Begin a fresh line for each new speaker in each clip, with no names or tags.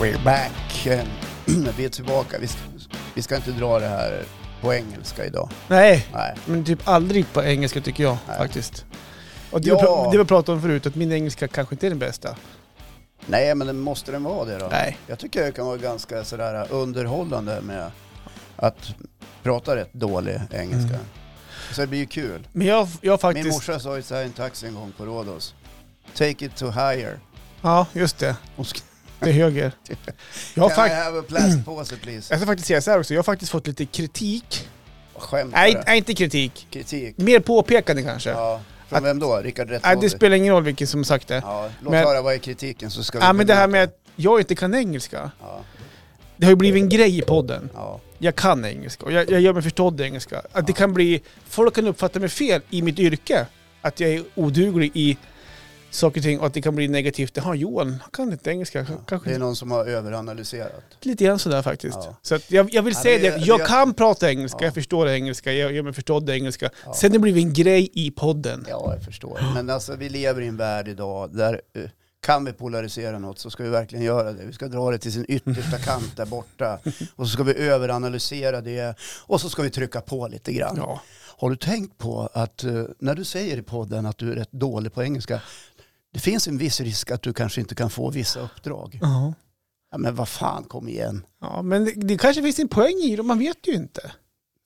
We're back. Eh, Vi är tillbaka. Vi ska, vi ska inte dra det här på engelska idag.
Nej,
Nej.
men typ aldrig på engelska tycker jag
Nej.
faktiskt. Och det,
Ja.
vi pra- det vi pratade om förut, att min engelska kanske inte är den bästa.
Nej, men det måste den vara det då?
Nej.
Jag tycker det kan vara ganska sådär underhållande med att prata rätt dålig engelska.
Mm.
Så det blir ju kul.
Men jag, jag faktiskt...
Min morsa sa ju så här i en taxi en gång på Rhodos. Take it to higher.
Ja, just det.
Och sk-
Till höger. Jag har,
Can I
fakt-
have a plastpåse please?
jag ska faktiskt säga så här också, jag har faktiskt fått lite kritik.
Skämtar
Nej,
du?
nej inte kritik.
Kritik?
Mer påpekande kanske.
Ja. Från
Att-
vem då? Rickard Rättmål?
nej, det spelar ingen roll vilken som sagt det. Ja,
Ja, låt
Men-
höra vad är kritiken så ska vi...
men det här med
bemöta
att jag inte kan engelska.
det. Ja,
Det har ju blivit en grej i podden.
ja.
Jag kan engelska och jag, jag gör mig förstådd i engelska. Att det
Ja.
kan bli... Folk kan uppfatta mig fel i mitt yrke. Att jag är oduglig i saker och ting och att det kan bli negativt. Jaha, Johan han kan inte engelska.
Ja,
Kanske
Det är
inte.
någon som har överanalyserat.
Lite grann sådär faktiskt.
Ja.
Så att jag, jag vill
Ja,
säga
det-
det,
det-
jag kan prata engelska,
Ja.
jag förstår engelska, jag gör mig förstådd i engelska.
Ja.
Sen det blev en grej i podden.
Ja, jag förstår. Men alltså, vi lever i en värld idag där eh, kan vi polarisera något så ska vi verkligen göra det. Vi ska dra det till sin yttersta kant där borta och så ska vi överanalysera det och så ska vi trycka på lite grann.
Ja.
Har du tänkt på att eh, när du säger i podden att du är rätt dålig på engelska, det finns en viss risk att du kanske inte kan få vissa uppdrag.
Ja.
Ja, men vad fan, kom igen.
ja, men det, det kanske finns en poäng i det, man vet ju inte.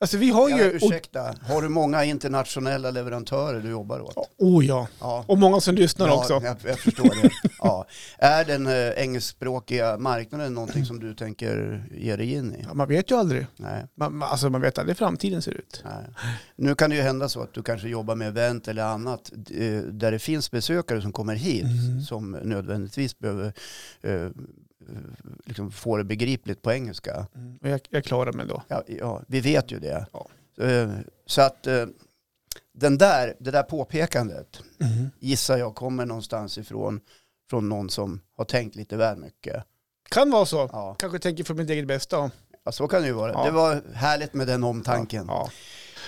Alltså vi har
Ja,
ju... och-
ursäkta, har du många internationella leverantörer du jobbar åt?
Oh ja,
Ja.
och många som lyssnar
ja,
också.
Jag, jag förstår det. Ja. Är den eh, engelskspråkiga marknaden någonting som du tänker ge dig in i?
Ja, man vet ju aldrig.
Nej.
Man, man, alltså man vet aldrig hur framtiden ser ut.
Nej. Nu kan det ju hända så att du kanske jobbar med event eller annat eh, där det finns besökare som kommer hit
Mm.
som nödvändigtvis behöver eh, eh, liksom få det begripligt på engelska.
Och jag, jag klarar mig då.
Ja, ja, vi vet ju det.
Ja.
Eh, Så att eh, den där, det där påpekandet gissar jag kommer någonstans ifrån från någon som har tänkt lite väl mycket.
Kan vara så.
Ja.
Kanske tänker för mitt eget bästa.
Ja, så kan det ju vara.
Ja.
Det var härligt med den omtanken.
Ja.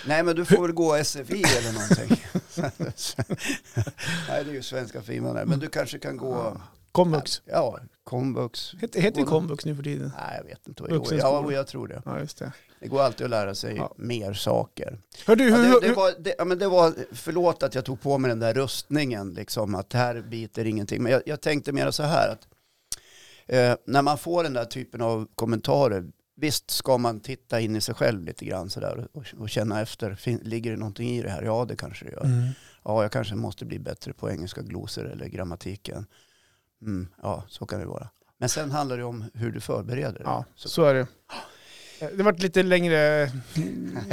Nej, men du får väl gå SFI eller någonting. Nej, det är ju svenska för invandrare. Men du kanske kan gå
Komvux.
ja, komvux.
Heter, heter det komvux nu för tiden?
Nej, jag vet inte vad jag går.
Vuxenskola.
Ja, och jag tror det.
Ja, just det.
Det går alltid att lära sig
Ja.
mer saker.
Hör du,
Ja,
hur,
det, det,
hur,
var, det, ja, men det var, förlåt att jag tog på mig den där röstningen, liksom, att här biter ingenting. Men jag, jag tänkte mer så här, att eh, när man får den där typen av kommentarer, visst ska man titta in i sig själv lite grann sådär och, och känna efter, fin, ligger det någonting i det här? Ja, det kanske det gör.
Mm.
Ja, jag kanske måste bli bättre på engelska glosor eller grammatiken. Mm, ja, så kan det vara. Men sen handlar det om hur du förbereder dig.
Ja,
Så-
så är det. Det vart lite längre...
Ja,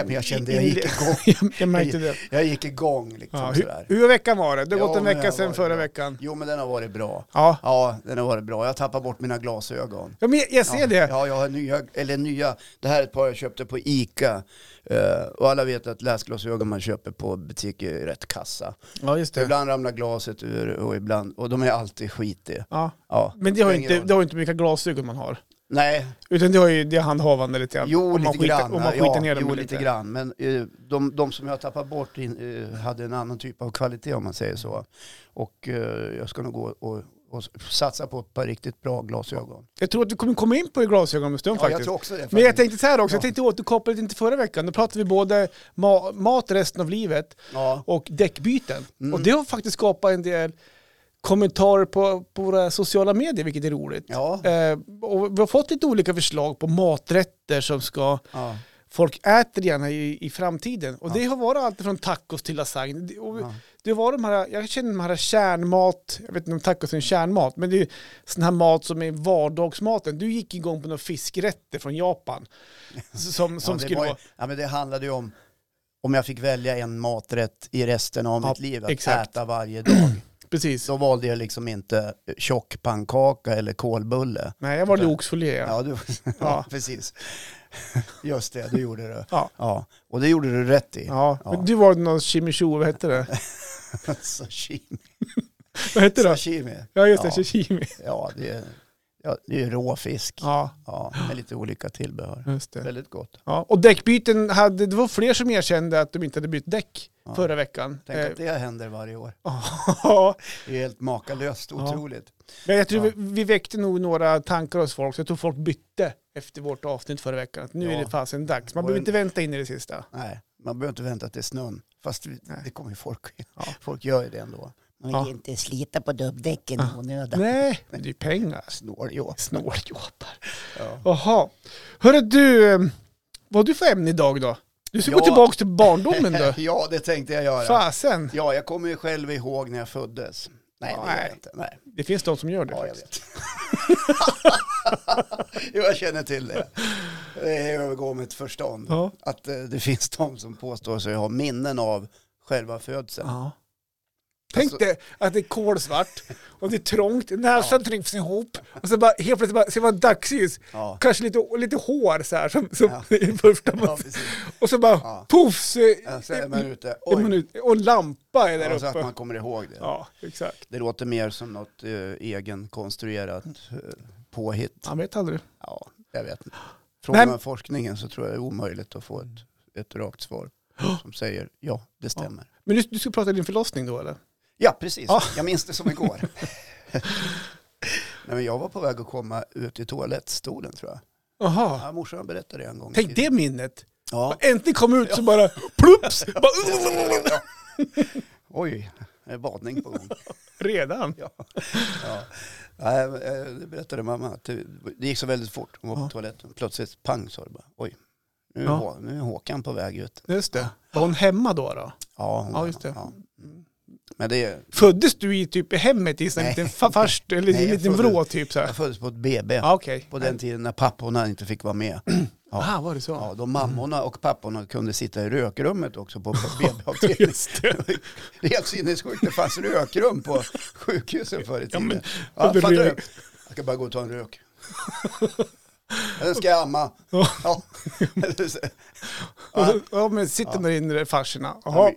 men jag kände jag gick igång.
Jag, jag märkte det.
Jag gick igång liksom
Ja, hur,
sådär.
hur veckan var det? Det har
Ja,
gått en
men
vecka
jag
sedan
var
förra
bra.
veckan.
Jo, men den har varit bra.
Ja.
Ja, den har varit bra. Jag tappar bort mina glasögon.
ja, men jag, jag ser
ja,
det.
Ja, jag har nya, eller nya. Det här är ett par jag köpte på ICA. Eh, och alla vet att läsglasögon man köper på butik är rätt kassa.
Ja, just
Ibland ramlar glaset ur och ibland, och de är alltid skitiga.
Ja.
Ja.
Men det har ju
Ingen
inte,
roll.
det har ju inte vilka glasögon man har.
Nej,
Utan det har ju det är handhavande lite grann.
jo
Om man
lite
skiter,
grann.
Om man skiter
ja,
ner dem
jo,
lite.
lite grann. Men eh, de, de som jag tappar bort in, eh, hade en annan typ av kvalitet om man säger så. Och eh, jag ska nog gå och, och satsa på ett par riktigt bra glasögon.
Jag tror att vi kommer komma in på glasögon om en stund
Ja, jag
faktiskt.
tror också det.
Men jag
faktiskt.
tänkte så här också,
Ja.
jag tänkte återkoppla lite till förra veckan. Då pratade vi både ma mat resten av livet
ja.
och däckbyten.
Mm.
Och det har faktiskt skapat en del kommentarer på, på våra sociala medier, vilket är roligt.
Ja.
Eh, och vi har fått lite olika förslag på maträtter som ska,
ja.
folk äter gärna i, i framtiden. Och det har varit allt från tacos till lasagne. Det, och
Ja.
det var de här, jag känner de här kärnmat, jag vet inte om tacos är en kärnmat, men det är ju sån här mat som är vardagsmaten. Du gick igång på några fiskrätter från Japan. Som, som
ja, det
skulle
var ju-
vara...
Ja, men det handlade ju om om jag fick välja en maträtt i resten av
Ja,
mitt liv att
exakt.
äta varje dag.
Precis.
Så valde jag liksom inte tjockpannkaka eller kolbulle.
Nej, jag var i oxfilé. Ja.
Ja, du, ja.
Ja.
precis. Just det, det gjorde du.
Ja.
Ja, och det gjorde du rätt i.
Ja,
Ja.
men du var någon chimichurri, vad hette det?
Sashimi.
Vad hette det?
Sashimi.
Ja just det,
Ja.
sashimi.
Ja, det, Ja, det är ju rå fisk.
Ja,
Ja, med lite olika tillbehör.
just det.
Väldigt gott.
Ja, och däckbyten, hade, det var fler som erkände att de inte hade bytt däck
Ja.
förra veckan.
Tänk
Eh,
att det händer varje år.
ja,
Det är helt makalöst
Ja.
otroligt.
men jag tror
Ja.
vi, vi väckte nog några tankar hos folk, så jag tror folk bytte efter vårt avsnitt förra veckan. Att nu
Ja.
är det fasen dags. Man
Och
behöver
en-
inte vänta in i det sista.
Nej, man behöver inte vänta till snön. Fast vi-
Nej.
det kommer ju folk.
Ja.
Folk gör ju det ändå.
Man
Ja.
vill ju inte slita på dubbdäcken i
Ah.
onödan.
Nej, men det är ju pengar.
Snår, ja.
Snåljåpar.
ja.
Jaha. Hörru du, eh, vad har du för ämne idag då? Du ska gå
Ja.
tillbaka till barndomen du.
ja, det tänkte jag göra.
Fasen.
Ja, jag kommer ju själv ihåg när jag föddes. Nej, det gör
Nej.
jag inte. Nej.
Det finns de som gör det.
Ja, jag vet. jo, jag känner till det. Det övergår mitt förstånd.
Ja.
Att eh, det finns de som påstår sig ha minnen av själva födseln.
Ja. Tänk
Alltså-
dig att det är kolsvart och det är trångt, näsan trycks ihop och så bara helt plötsligt bara, ser man dagsljus,
Ja.
kanske lite, lite hår så här som, som
Ja.
i första man
Ja, precis.
Och så bara
Ja.
poff så
Ja, så
är
är man ute.
är man
Oj,
ute. Och en lampa är där
ja, så att
uppe.
man kommer ihåg det.
Ja, exakt.
Det låter mer som något eh, egenkonstruerat eh, påhitt.
Man vet aldrig.
Ja, jag vet inte.
Nej,
Frågar
men-
man forskningen så tror jag det är omöjligt att få ett, ett rakt svar som säger ja, det stämmer.
Men du, du ska prata din förlossning då eller?
Ja, precis.
Ja.
Jag minns det som igår. Nej, men jag var på väg att komma ut i toalettstolen tror jag.
Jaha.
Ja, morsan berättade det en gång. i
Tänk
tiden.
det minnet.
Ja.
Äntligen kom ut så bara plups! Bara,
Oj, det är badning på gång.
redan.
Ja. Nej, eh, det berättade mamma. att Det det gick så väldigt fort. Hon var på
Ja.
toaletten. Plötsligt pang sa det bara. Oj, nu är,
Ja.
Hå- nu är Håkan på väg ut.
Just det. Var hon hemma då? då?
Ja, hon
Ja,
var-
just det.
Men det,
Föddes du i typ i hemmet i en
Nej.
liten fa- farst eller
Nej,
en
jag
liten
föddes-
vrå typ så här?
jag föddes på ett BB
Ja, okej.
på den tiden när papporna inte fick vara med.
Ah, var det så?
Ja, de mammorna och papporna kunde sitta i rökrummet också på BB-avdelningen.
Just det.
Det är helt sinnessjukt. Det fanns rökrum på sjukhusen förr i tiden.
men,
Ja,
hade
fattar du?
rök.
Jag ska bara gå och ta en rök. Den ska jag amma.
Ja.
Ja.
Och så- Ja, men sitter där inne där farsorna. Jaha.
Ja,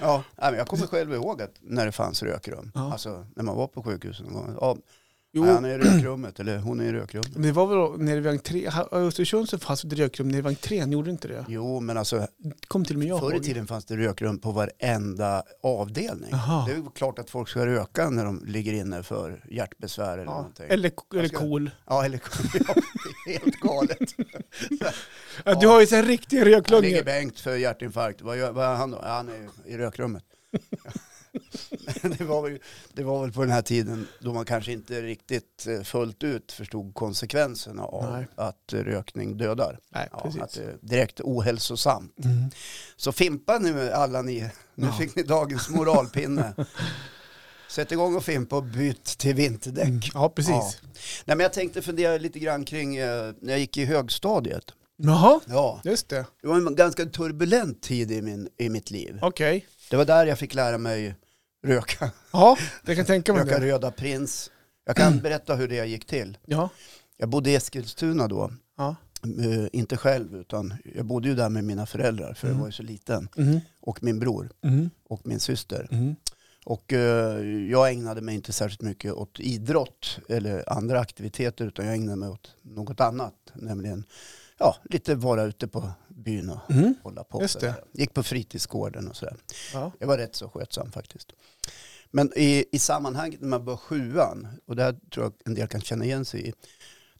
Ja, nej, men jag kommer själv ihåg att när det fanns rökrum,
Ja.
alltså när man var på sjukhuset, någon gång, ja,
Jo,
nej, han är i rökrummet eller hon är i rökrummet.
men det var väl då nere vid entré, här- i Östersund så fanns det ett rökrum nere vid entrén, gjorde det inte det?
Jo, men alltså
Kom till och med jag
förr i
ihåg.
tiden fanns det rökrum på varenda avdelning.
Jaha.
Det är ju klart att folk ska röka när de ligger inne för hjärtbesvär eller
Ja.
någonting.
Eller, eller
ska-
KOL.
Ja, eller ja, det är helt galet.
Ja, du har ju så här riktiga
Han ligger
röklungor.
bänkt för hjärtinfarkt. Vad, gör, vad är han då? Ja, han är i rökrummet. Men det, var väl, det var väl på den här tiden då man kanske inte riktigt eh, fullt ut förstod konsekvenserna av
Nej.
att eh, rökning dödar.
Nej,
Ja, att
precis.
det är direkt ohälsosamt.
Mm.
Så fimpa nu alla ni. Nu
Ja.
fick ni dagens moralpinne. Sätt igång och fimpa och byt till vinterdäck.
Mm. Ja, precis.
Ja. Nej, men jag tänkte fundera lite grann kring eh, när jag gick i högstadiet.
Jaha,
Ja,
just det.
det var en ganska turbulent tid i, min, i mitt liv.
Okej.
Det var där jag fick lära mig röka,
Ja, det kan jag tänka mig
röka
det. Mm.
Röda Prins. Jag kan berätta hur det gick till.
Ja.
Jag bodde i Eskilstuna då,
ja.
Eh, inte själv utan jag bodde ju där med mina föräldrar för jag var ju så liten.
Mm.
Och min bror
Mm.
och min syster.
Mm.
Och eh, jag ägnade mig inte särskilt mycket åt idrott eller andra aktiviteter utan jag ägnade mig åt något annat. Nämligen ja, lite vara ute på byn och
Mm.
hålla på.
Just det.
sådär. Gick på fritidsgården och sådär.
Ja.
Jag var rätt så skötsam faktiskt. Men i, i sammanhanget när man var sjuan, och det här tror jag en del kan känna igen sig i,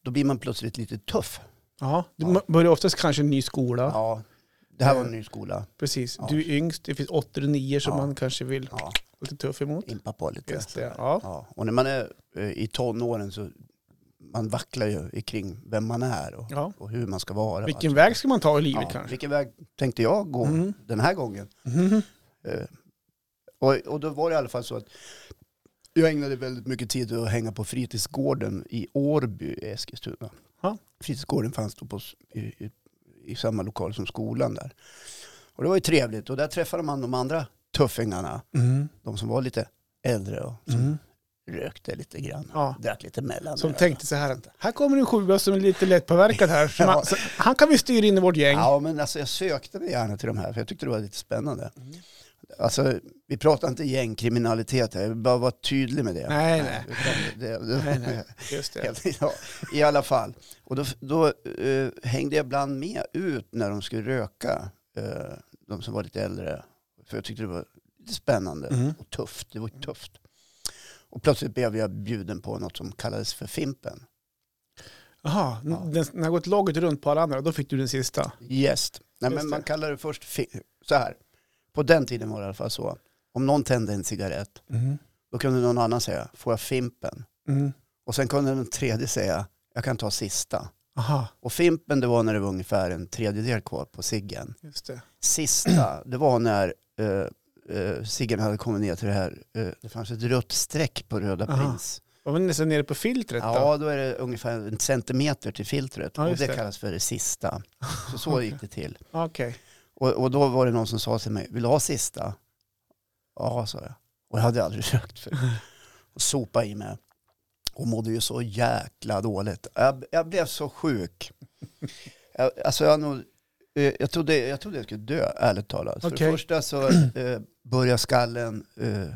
då blir man plötsligt lite tuff.
Ja, du
Ja.
börjar oftast kanske en ny skola.
Ja. det här var en
Eh.
ny skola.
Precis.
Ja.
Du är yngst, det finns 89 som
Ja.
man kanske vill
Ja,
lite tuff emot.
impa på lite.
Just det,
sådär.
ja.
Ja. Och när man är eh, i tonåren så man vacklar ju kring vem man är och,
ja.
och hur man ska vara.
Vilken väg ska man ta i livet
ja,
kanske?
Vilken väg tänkte jag gå
Mm.
den här gången?
Mhm.
Eh, Och, och då var det i alla fall så att jag ägnade väldigt mycket tid åt att hänga på fritidsgården i Årby i Eskilstuna.
Ja.
Fritidsgården fanns då på, s- i, i, i samma lokal som skolan där. Och det var ju trevligt och där träffade man de andra tuffingarna,
Mhm.
de som var lite äldre och som
Mhm.
rökte lite grann,
Ja.
drack lite mellan.
Som tänkte så här att här kommer en sjua som är lite lättpåverkad här. Så
Ja.
man, så, han kan vi styra in i vårt gäng.
Ja, men alltså jag sökte mig gärna till de här för jag tyckte det var lite spännande. Alltså, vi pratar inte gängkriminalitet här, jag vill bara vara tydlig med det.
Nej, nej.
utan det,
Nej, nej. Just det.
Helt, ja, I alla fall. Och då, då eh, hängde jag ibland med ut när de skulle röka, eh, de som var lite äldre. För jag tyckte det var lite spännande
Mm.
och tufft. Det var ju tufft. Och plötsligt blev jag bjuden på något som kallades för Fimpen.
Jaha,
Ja.
den, den har gått laget runt på alla andra, då fick du den sista.
Gäst. Nej,
Just
men
det.
man kallar det först fi- så här. På den tiden var det i alla fall så. Om någon tände en cigarett,
Mm.
då kunde någon annan säga, får jag Fimpen?
Mm.
Och sen kunde den tredje säga, jag kan ta sista.
Aha,
Och Fimpen, det var när det var ungefär en tredjedel kvar på ciggen.
just det.
Sista, det var när eh, eh, ciggen hade kommit ner till det här, eh, det fanns ett rött streck på Röda
Aha.
Prins.
Var man nästan nere på filtret då?
Ja, då är det ungefär en centimeter till filtret.
Ja,
och
just
det,
det.
kallas för det sista. Så så gick det till.
Okej.
Och, och då var det någon som sa till mig, vill du ha sista? Ja, sa jag. Och jag hade aldrig rökt förut. Och sopa i mig. Och mådde ju så jäkla dåligt. Jag, jag blev så sjuk. Jag, alltså jag, har nog, eh, jag, trodde, jag trodde jag skulle dö, ärligt talat. För
Okej.
det första så eh, började skallen, eh,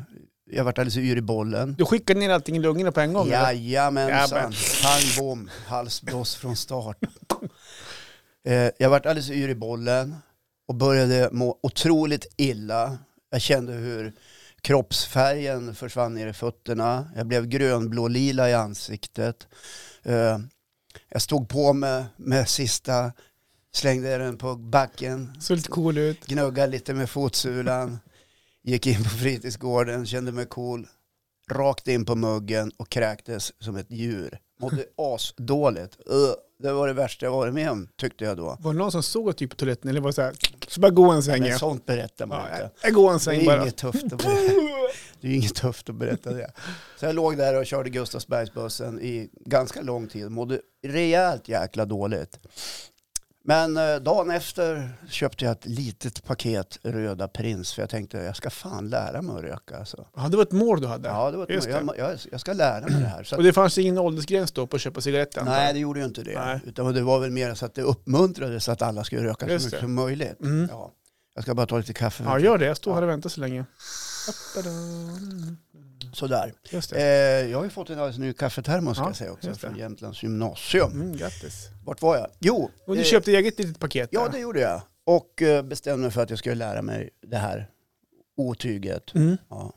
jag vart alldeles yr i bollen.
Du skickade ner allting i lungorna på en gång? eller?
Jajamensan,
Jamen.
pang bom, halsbloss från start. Eh, jag vart alldeles yr i bollen och började må otroligt illa. Jag kände hur kroppsfärgen försvann ner i fötterna. Jag blev grönblå-lila i ansiktet. Eh, jag stod på mig med sista, slängde den på backen,
Såg lite cool ut.
gnuggade lite med fotsulan, gick in på fritidsgården, kände mig cool, rakt in på muggen och kräktes som ett djur. Mådde asdåligt. Ugh, Det var det värsta jag varit med om, tyckte jag då.
Var det någon som såg att du gick på toaletten eller var det så här, så bara gå en sväng?
Men
ja.
sånt berättar man
Ja,
inte.
jag går en
Det
sväng
är,
bara.
inget tufft att berätta. det är ju inget tufft att berätta det. Så jag låg där och körde Gustavsbergsbussen i ganska lång tid. Mådde rejält jäkla dåligt. Men eh, dagen efter köpte jag ett litet paket Röda Prins för jag tänkte jag ska fan lära mig att röka. Alltså.
Ja, det var ett mål du hade.
Ja, det var
Just
ett, jag, jag, jag ska lära mig det här. Så
Och
att,
det fanns ingen åldersgräns då på att köpa cigaretten?
nej, det gjorde ju inte det.
Nej.
Utan det var väl mer så att det uppmuntrades att alla skulle röka så
Just
mycket
det.
som möjligt.
Mm.
Ja. Jag ska bara ta lite kaffe.
Ja, gör det. Jag står
Ja.
här och väntar så länge.
Sådär.
Just
Eh,
det.
jag har ju fått en alldeles ny kaffetermos ska
Ja,
jag säga också
just det.
från Jämtlands gymnasium.
Mm, grattis.
Vart var jag? Jo,
Och du
eh,
köpte eget litet paket?
ja
där.
det gjorde jag. Och eh, bestämde mig för att jag skulle lära mig det här otyget.
Mm.
Ja.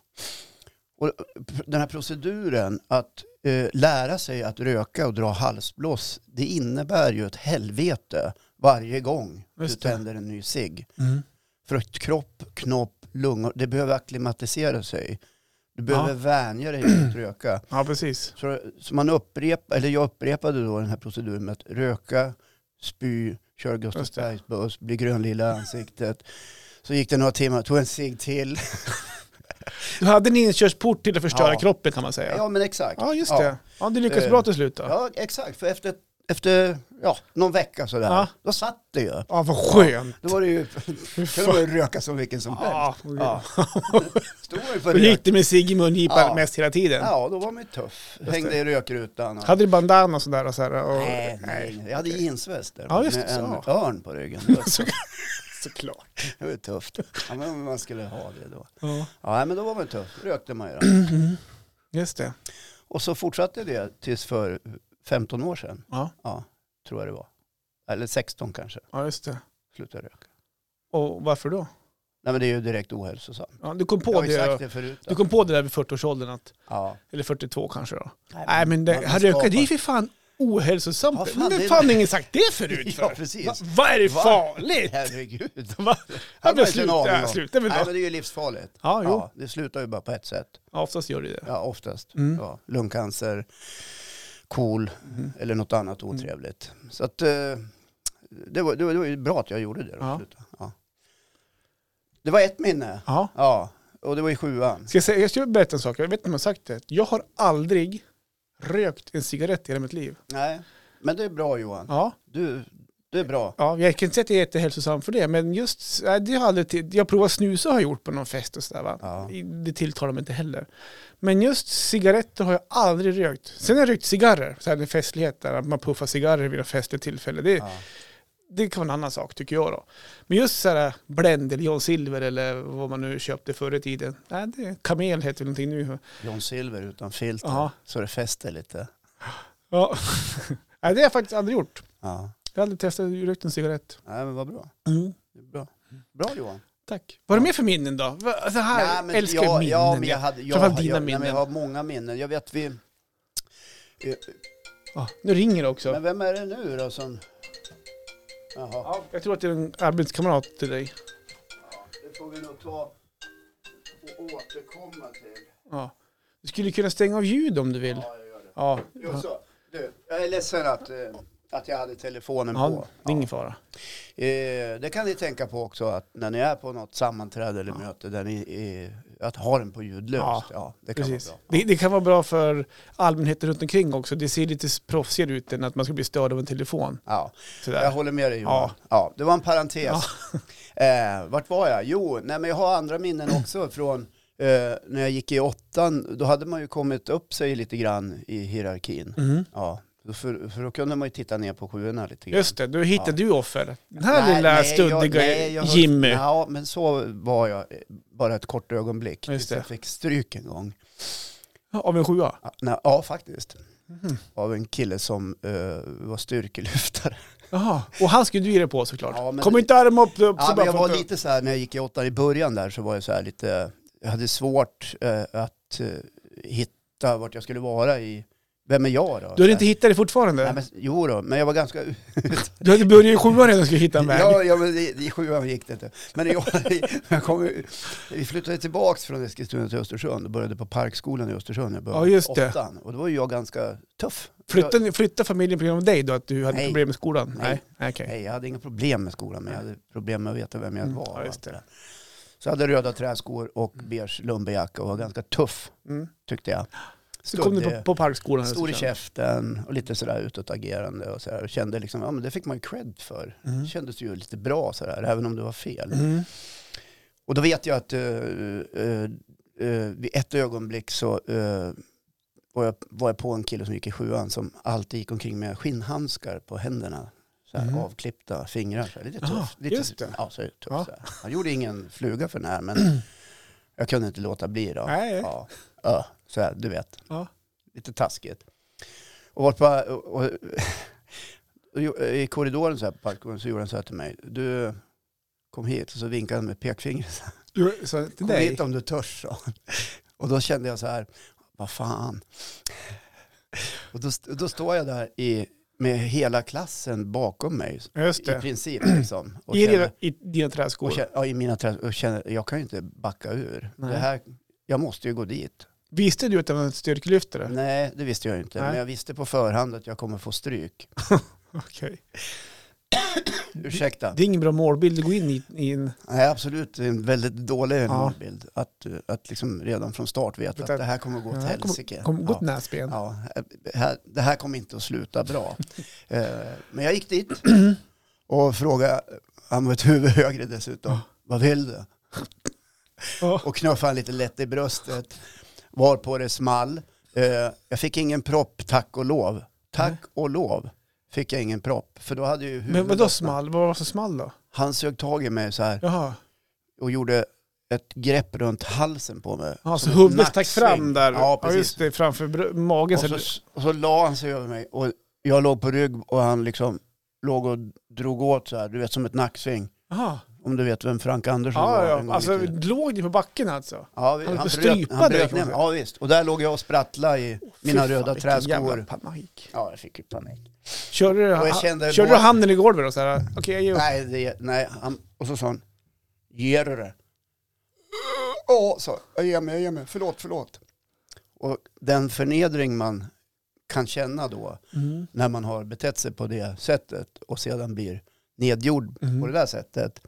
Och p- den här proceduren att eh, lära sig att röka och dra halsblås, det innebär ju ett helvete varje gång
Just
du
det.
tänder en ny cigg.
Mm.
För att kropp, knopp, lungor, det behöver akklimatisera sig. Du behöver vänja dig vid att röka.
Ja, precis.
Så, så man upprepa, eller jag upprepade då den här proceduren med att röka, spy, köra Gustavsbergsbuss, bli grönlila i ansiktet. Så gick det några timmar, tog en cigg till.
Du hade en inkörsport till att förstöra
Ja.
kroppen kan man säga.
Ja men exakt.
Ja, just
Ja.
det. Ja, du lyckades
Eh,
bra till slut då. Ja,
Ja exakt, för efter, efter ja, någon vecka sådär,
Ja.
då satt det ju.
vad skönt.
Då var det ju, kunde man ju röka som vilken som helst.
Ja.
Ja. Stod man ju för
Då gick
rök.
det med cigg i mungipan
Ja.
mest hela tiden.
Ja, då var man ju tuff. Hängde i rökrutan. Och,
Hade du bandana och sådär? Och sådär och...
nej, nej, jag hade jeansväst där
Ja, just
med
det,
en
så.
örn på ryggen. Det var,
Så, såklart.
det var ju tufft. Ja, men man skulle ha det då.
Ja.
Ja, nej, men då var man tuff. Rökte man ju. då.
Mm-hmm. Just det.
Och så fortsatte det tills för 15 år sedan.
Ja.
Ja, tror jag det var. Eller 16 kanske.
ja, just det.
Slutade röka.
Och varför då?
Nej, men det är ju direkt ohälsosamt.
Ja, du, kom
Jag
på
har ju sagt
det,
det förut. då.
du kom på det där vid 40-årsåldern, att,
Ja.
eller 42 kanske då.
Nej,
Nej men det,
man- man
han röker, det är
skapar-
ju för fan ohälsosamt.
Ja,
Men
fan,
fan,
det-
fan ingen sagt det förut för?
Ja, precis.
Va, vad är det
Va?
farligt?
Herregud.
Va?
har
Jag
man inte en aning
slutar,
om.
slutar väl
Nej,
då.
men det är ju livsfarligt.
Ja, jo.
Ja, det slutar ju bara på ett sätt.
Ja, oftast gör det det.
Ja, oftast.
Mm.
Ja, lungcancer, KOL eller något annat
Mm.
otrevligt. Så att eh, det var, det, var, det var ju bra att jag gjorde det. Då,
Ja.
sluta. Ja. Det var ett minne.
Ja.
Ja, och det var i sjuan.
Ska jag, säga, jag ska berätta en sak, jag vet inte om jag har sagt det. Jag har aldrig rökt en cigarett i hela mitt liv.
Nej, men det är bra Johan.
Ja,
Du, du är bra.
ja jag kan inte säga att jag är jättehälsosam för det, men just, nej, det har jag aldrig, till- jag provar snusa har jag gjort på någon fest och sådär va.
Ja.
Det tilltalar mig inte heller. Men just cigaretter har jag aldrig rökt. Sen har jag rökt cigarrer, så här, det är festligheter, att man puffar cigarrer vid något festligt tillfälle. Det,
Ja.
det kan vara en annan sak tycker jag då. Men just så här Blend eller John Silver eller vad man nu köpte förr i tiden. Nej, det, kamel heter väl någonting nu.
John Silver utan filter.
Ja.
Så det fäster lite.
Ja. Nej, det har jag faktiskt aldrig gjort.
Ja.
Jag har aldrig testat rökt en cigarett.
Nej, men vad bra. Det är Bra. bra Johan.
Tack. Vad är det mer för minnen då? Va- Alltså här,
men
älskar
jag,
jag, minnen.
Ja, men jag hade, jag,
Framförallt dina
jag, nej, men
minnen.
jag har många minnen. Jag vet vi... eh,
Ah, nu ringer det också.
Men vem är det nu då som... Jaha,
Ja, jag tror att det är en arbetskamrat till dig.
det får vi nog ta och återkomma till.
Ja. Du skulle kunna stänga av ljud om du vill.
Ja, jag gör det.
Ja,
Jo, så. Du, jag är ledsen att, eh, att jag hade telefonen
ja
på.
det är ingen fara.
Eh, det kan ni tänka på också att när ni är på något sammanträde eller möte där ni eh, att ha den på ljudlöst.
Ja,
Ja, det kan
Precis.
vara bra.
Det, det kan vara bra för allmänheten runt omkring också. Det ser lite proffsigare ut än att man ska bli störd av en telefon.
Ja,
Sådär.
jag håller med dig Johan. Ja. det var en parentes. Eh, vart var jag? Jo, nej, men jag har andra minnen också från eh, när jag gick i åttan. Då hade man ju kommit upp sig lite grann i hierarkin.
Mm.
Ja, då för, för då kunde man ju titta ner på sjuorna lite grann.
Just det, då hittar
Ja.
du offer. Den här lilla studdiga
höll-
Jimmy.
Ja, men så var jag eh, bara ett kort ögonblick.
Just
tills
det.
jag fick stryk en gång.
Av en sjua.
Ja, nej, ja faktiskt.
Mhm.
Av en kille som eh, var styrkelyftare.
Jaha. Och han skulle du ge dig på såklart.
Ja, men-
Kom inte arm upp, upp så
Ja,
bara
men jag
för
var
att-
lite så här, när jag gick i åttan i början där så var jag så här lite, jag hade svårt eh, att eh, hitta vart jag skulle vara i, vem är jag då?
Du hade inte hittat det fortfarande?
Nej, men, jo då, men jag var ganska...
Du hade börjat i sjuan redan och skulle hitta en väg.
ja, ja, men i, i sjuan gick det inte. Men jag, jag kom, ju- vi flyttade tillbaka från Eskilstuna till Östersund och började på Parkskolan i Östersund. Jag började
Ja, just det.
åttan, och då var ju jag ganska tuff.
Flyttade, ni- flyttade familjen på grund av dig då, att du hade
Nej.
problem med skolan?
Nej.
Nej, okej.
Nej, jag hade inga problem med skolan, men jag hade problem med att veta vem jag
Mm,
var.
ja,
och allt
just det.
där. Så jag hade röda träskor och beige lumberjacka och var ganska tuff,
Mm.
tyckte jag.
Så kom du på, på Parkskolan. här
eh, stor i
såklart.
käften och lite sådär utåtagerande och sådär. Och kände liksom, ja men det fick man ju cred för. Det kändes ju lite bra sådär, även om det var fel.
Mm.
Och då vet jag att eh, eh, eh, vid ett ögonblick så eh, var, jag, var jag på en kille som gick i sjuan som alltid gick omkring med skinnhandskar på händerna. Så här,
Mhm.
Avklippta fingrar, så här, lite
Ah,
tufft. lite,
just det.
Ja, så är det tufft,
Ja.
så här. Han gjorde ingen fluga för den här, men jag kunde inte låta bli då.
Nej.
Ja, ja, så här, du vet.
Ja.
Lite taskigt. Och, vart på, och, och, och jo- i korridoren så här på parkgården så gjorde han så här till mig. Du, kom hit. Och så vinkade han med pekfingret.
Du, så, till
Kom
dig?
hit om du törs, sa han. Och då kände jag så här, vad fan. Och då, st- då står jag där i, med hela klassen bakom mig,
Just
i
det.
princip. Liksom, och
I,
känner,
dina, I dina träskor.
och känner, ja, i mina trä- och känner, jag kan ju inte backa ur.
Nej.
Det här, jag måste ju gå dit.
Visste du att det var en styrkelyftare?
Nej, det visste jag ju inte.
Nej.
Men jag visste på förhand att jag kommer få stryk.
Okej.
Ursäkta.
Det är ingen bra målbild att gå in i, i en...
Nej, absolut. Det är en väldigt dålig
Ja.
målbild. Att, att liksom redan från start veta att
Utan-
det här kommer gå åt
Ja, kom-
helsike.
Kom, gå
Ja.
åt näsben.
Ja, det här, det här kommer inte att sluta bra. Eh, Men jag gick dit och frågade, han var ett huvud högre dessutom, vad vill du?
Ja.
Och knuffade han lite lätt i bröstet, varpå det small. Eh, Jag fick ingen propp, tack och lov. Tack och lov fick jag ingen propp, för då hade ju huvudet...
Men vadå small? Vad var det för small då?
Han sög tag i mig så här
Jaha.
och gjorde ett grepp runt halsen på mig.
Ja, så
Som en
huvudet stack
nacksving.
fram där.
Ja,
ja
precis.
just det, framför br- magen.
Och
Så
så, och så la han sig över mig och jag låg på rygg och han liksom låg och drog åt så här, du vet som ett nacksving.
Jaha.
Om du vet vem Frank Andersson var
Ja,
en gång
ja.
i
Alltså,
tiden.
låg ni på backen alltså?
ja, vi,
han
han, bröt,
strypade,
han
kan
bröt
man
ner mig.
säga.
Ja, visst. Och där låg jag och sprattlade i mina
Fy fan,
röda
vilken jävla
träskor.
panik.
Ja, jag fick ju panik.
Körde du,
jag
ha-
kände
körde
då-
du handen i golvet och så här, okej jag ger upp.
Nej, det, nej han, och så sa han, ger du det? Ja, sa jag, jag ger mig, jag ger mig, förlåt, förlåt. Och den förnedring man kan känna då,
Mm.
när man har betett sig på det sättet och sedan blir nedgjord
Mhm.
på det där sättet.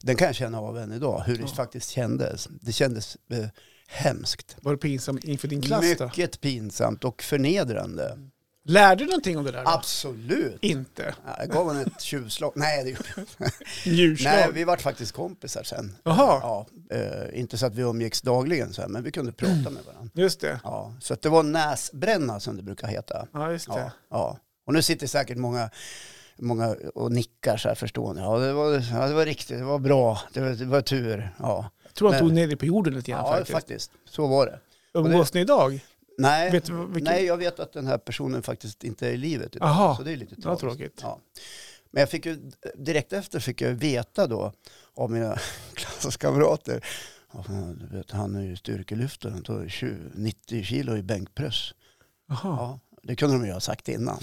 Den kan jag känna av än idag, hur det
Ja.
faktiskt kändes. Det kändes eh, hemskt.
Var det pinsamt inför din klass då?
Mycket pinsamt och förnedrande.
Lärde du någonting om det där då?
Absolut.
Inte?
Ja, Jag gav honom ett tjuvslag. Nej, det gjorde jag inte.
Djurslag?
Nej, vi vart faktiskt kompisar sen.
Jaha,
Ja, eh, inte så att vi umgicks dagligen, så här, men vi kunde prata
Mm.
med varandra.
just det.
Ja, så att det var näsbränna som det brukar heta.
Ja, just det.
Ja, ja. Och nu sitter säkert många många och nickar så här förstående. Ja det var, ja, det var riktigt, det var bra, det var, det var tur. Ja,
Jag tror han
Men-
tog ner det på jorden lite grann
ja
faktiskt.
faktiskt. Så var det.
Umgås ni idag?
Nej,
Vet du vilken-
nej, jag vet att den här personen faktiskt inte är i livet idag.
Aha.
Så det är lite
Det var
tragiskt.
tråkigt.
Ja. Men jag fick ju, direkt efter fick jag veta då av mina klasskamrater. Ja, fan, du vet, han är ju styrkelyftare, han tar 20, 90 kilo i bänkpress.
Jaha.
Ja, det kunde de ju ha sagt innan,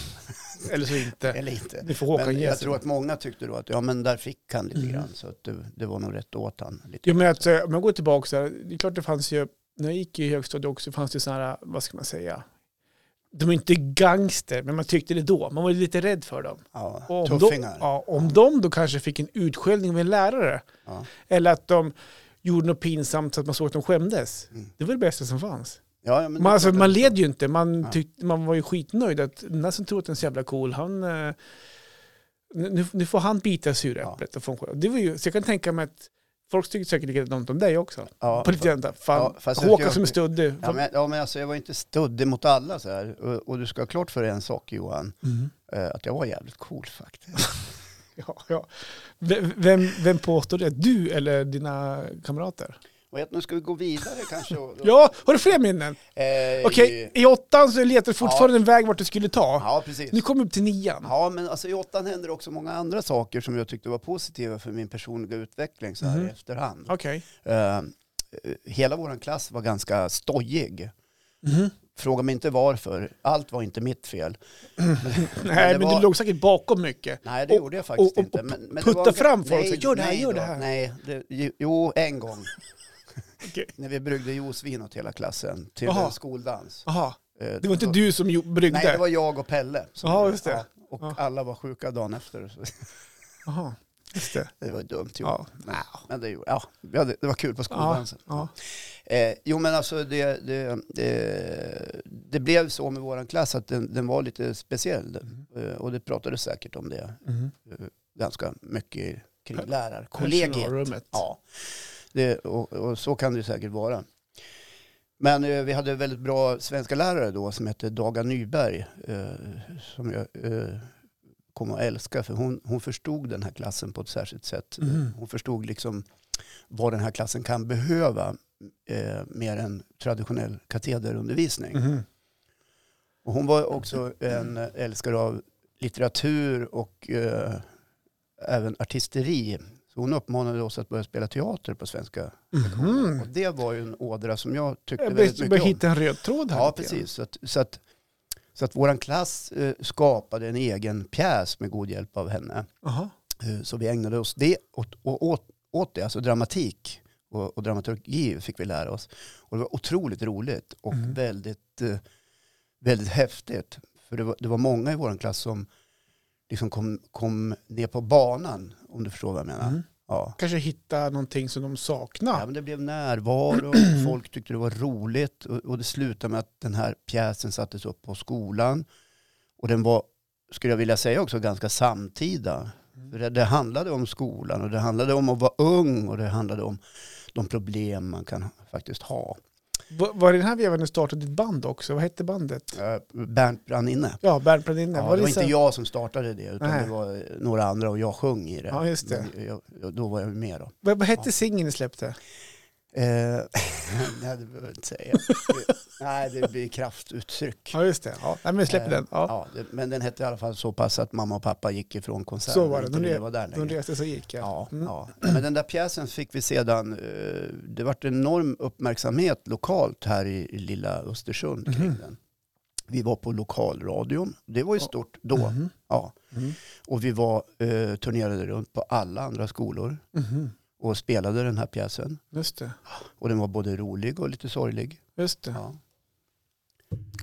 Eller så inte.
eller inte.
Det får Håkan
Men
ge
jag
sig.
tror att många tyckte då att ja, men där fick han lite
Mm.
grann. Så att det, det var nog rätt åt han. Lite.
Jo, men att, eh, om jag går tillbaka, så här, det är klart det fanns ju, när jag gick i högstadiet också fanns det sådana här, vad ska man säga, de är inte gangster, men man tyckte det då. Man var lite rädd för dem.
Ja,
Och om de,
tuffingar.
ja, om de då kanske fick en utskällning av en lärare,
Ja.
eller att de gjorde något pinsamt så att man såg att de skämdes,
Mm.
det var det bästa som fanns.
Ja, ja, men
Man,
det-
alltså, man led ju inte, man,
Ja.
tyckte, man var ju skitnöjd att den här som tror att den är så jävla cool, han, eh, nu, nu får han bita suräpplet. och få en skär- Det var ju, så jag kan tänka mig att folk tycker säkert likadant om dig också.
ja,
På lite grann, där, fan,
Ja, fast jag
Håkan
tycker-
som är stöddig.
Ja men, ja, men alltså, jag var inte stöddig mot alla så här. Och, och du ska ha klart för dig en sak Johan,
Mm.
eh, att jag var jävligt cool faktiskt.
Ja, ja. Vem- Vem, vem påstår det? Du eller dina kamrater?
Och jag, nu ska vi gå vidare kanske. Och,
Ja, har du fler minnen?
Eh,
Okej, i åttan så letar du fortfarande en väg vart du skulle ta.
Ja, precis.
Nu kommer vi upp till nian.
Ja, men alltså, i åttan händer också många andra saker som jag tyckte var positiva för min personliga utveckling så här
Mhm.
i efterhand.
Okej.
Eh, hela vår klass var ganska stojig.
Mhm.
Fråga mig inte varför. Allt var inte mitt fel.
Nej, men
var-
du låg säkert bakom mycket.
Nej, det
Och-
gjorde jag faktiskt
och- och-
inte.
och
Men, men det
putta
var en-
fram folk,
Nej,
så, gör det här,
nej
gör
då.
det här.
Nej, det, ju- jo, en gång.
Okej.
När vi bryggde juicevin åt hela klassen till
Jaha.
en skoldans.
Aha.
Eh,
Det var inte
då-
du som gjo- bryggde?
Nej, det var jag och Pelle. som
Jaha,
gjorde
just det.
Ja, och
Ja.
alla var sjuka dagen efter. Så
Aha. Just det.
det var dumt gjort.
Ja.
Men, men det, gjorde- ja, vi hade- det var kul på
Ja,
skoldansen.
ja.
Eh, jo men alltså det, det, det, det blev så med vår klass att den, den var lite speciell. Eh, och det pratades säkert om det
Mhm.
eh, ganska mycket kring lärarkollegiet.
Personalrummet.
Ja, det, och, och så kan det ju säkert vara. Men eh, vi hade väldigt bra svenska lärare då som hette Daga Nyberg eh, som jag eh, kom att älska för hon, hon förstod den här klassen på ett särskilt sätt.
Mhm.
Hon förstod liksom vad den här klassen kan behöva eh, mer än traditionell katederundervisning.
Mhm.
Och hon var också en älskare av litteratur och eh, även artisteri. Så hon uppmanade oss att börja spela teater på svenska.
Mhm.
Och det var ju en ådra som jag tyckte
Jag
väldigt
börjar
mycket om.
hitta en röd tråd här.
Ja,
lite grann.
precis. Så att, så att, så att vår klass eh, skapade en egen pjäs med god hjälp av henne.
Aha.
Eh, så vi ägnade oss det åt, och åt, åt det, alltså dramatik och, och dramaturgi fick vi lära oss. Och det var otroligt roligt och
Mm.
väldigt, eh, väldigt häftigt. För det var, det var många i vår klass som liksom kom, kom ner på banan, om du förstår vad jag menar.
Mhm.
Ja.
Kanske hitta någonting som de
Ja,
saknar.
men det blev närvaro, folk tyckte det var roligt och, och det slutade med att den här pjäsen sattes upp på skolan. Och den var, skulle jag vilja säga också, ganska samtida.
Mm.
För det, det handlade om skolan och det handlade om att vara ung och det handlade om de problem man kan faktiskt ha.
Va- Var det den här vevan du startade ditt band också? Vad hette bandet?
Eh, Bernt brann inne.
Ja, Bernt Planinne.
Ja, det var
så-
inte jag som startade det utan
Nej.
det var eh, några andra och jag sjöng i det.
Ja, just det.
Men jag, jag, då var jag med då.
Vad, vad hette singeln ni släppte?
Eh, nej, det behöver jag inte säga. Det, nej, det blir kraftuttryck.
Ja, just det. Ja. Nej, men släpp
Eh,
den. Ja.
Ja, det, men den hette i alla fall så pass att mamma och pappa gick ifrån konserten.
Så var det.
och
De
Inte ville
re-
vara där
De
längre.
reste så gick jag.
Ja,
Mm.
ja. Men den där pjäsen fick vi sedan, eh, det vart enorm uppmärksamhet lokalt här i, i lilla Östersund kring
Mhm.
den. Vi var på lokalradion, det var ju
Ja.
stort då.
Mhm.
Ja.
Mhm.
Och vi var, eh, turnerade runt på alla andra skolor
Mhm.
och spelade den här pjäsen.
Just det.
Och den var både rolig och lite sorglig.
Just det.
Ja.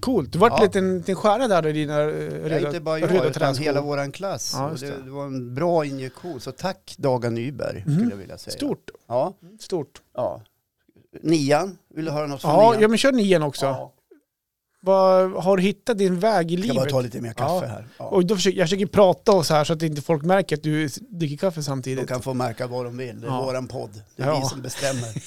Coolt. Du vart
Ja.
en liten, liten stjärna där i dina eh,
Ja,
röda,
inte bara jag,
röda
utan
träskor.
hela vår klass.
Ja,
och
just
det,
det.
det var en bra injektion. Så tack Daga Nyberg,
Mhm.
skulle jag vilja säga.
Stort.
Ja,
Stort.
ja. Nian, vill du höra något från
Ja,
nian?
ja, men kör nian också.
Ja.
Vad, har du hittat din väg i
Jag ska bara
livet?
ta lite mer kaffe
Ja.
här. Ja.
Och då försöker, jag försöker prata och så här så att inte folk märker att du dricker kaffe samtidigt.
De kan få märka vad de vill. Det är
Ja.
våran podd. Det är
Ja.
vi som bestämmer.